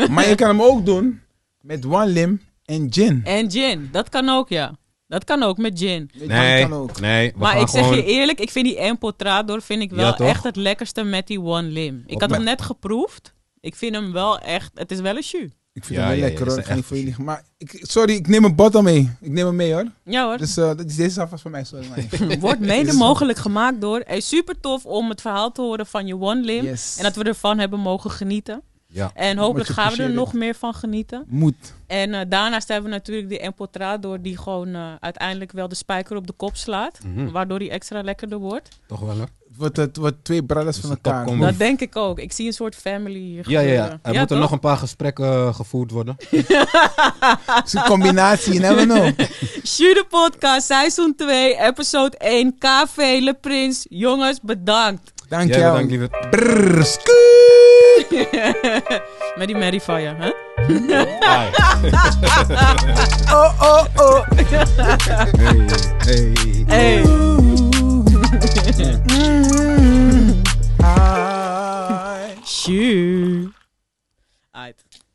C: maar je kan hem ook doen met One Lim en gin.
A: En gin, dat kan ook, ja. Dat kan ook met gin.
C: Weet je,
B: Nee,
C: dat kan ook.
B: nee. We
A: maar
B: gaan
A: ik zeg
B: gewoon...
A: je eerlijk, ik vind die Empotrador vind ik wel
B: Ja, toch?
A: echt het lekkerste met die One Lim. Ik
B: Op
A: had
B: me-
A: hem net geproefd. Ik vind hem wel echt, het is wel een jus.
C: Ik vind
B: Ja,
C: hem
B: ja, ja,
C: wel lekker
B: is
C: hoor. Ik
B: echt
C: ga niet voor jullie. Maar ik, sorry, ik neem een bottle mee. Ik neem hem mee hoor.
A: Ja hoor.
C: Dus eh, dat is, deze is alvast van mij. Sorry. man.
A: Wordt mede
C: Is-
A: mogelijk gemaakt door. Hey, super tof om het verhaal te horen van je One Lim.
C: Yes.
A: En dat we ervan hebben mogen genieten.
B: Ja.
A: En hopelijk
C: je
A: gaan we er
C: appreciëren.
A: nog meer van genieten.
C: Moet.
A: En eh, daarnaast hebben we natuurlijk die Empotrador die gewoon eh, uiteindelijk wel de spijker op de kop slaat.
B: Mhm.
A: Waardoor hij extra lekkerder wordt.
B: Toch wel, hè?
C: Het wordt, het wordt twee brothers
B: Dus
C: van
B: een
C: elkaar.
B: topcombo.
A: Dat denk ik ook. Ik zie een soort family hier
B: Ja, ja, ja.
A: gebeuren.
B: Er moeten
A: toch?
B: nog een paar gesprekken eh, gevoerd worden.
C: Het is een combinatie, you never know.
A: Shoot the podcast, seizoen 2, episode 1, KV, Le Prins. Jongens, bedankt.
C: Dank
B: Jij bedankt,
C: je
B: lieverd.
C: Brrr, scoot.
A: Met die Mary Fire, hè?
B: Bye.
C: Oh, oh, oh.
B: Hey,
A: Hey.
B: hey.
C: Mm. Hi.
A: Shoot. Uit.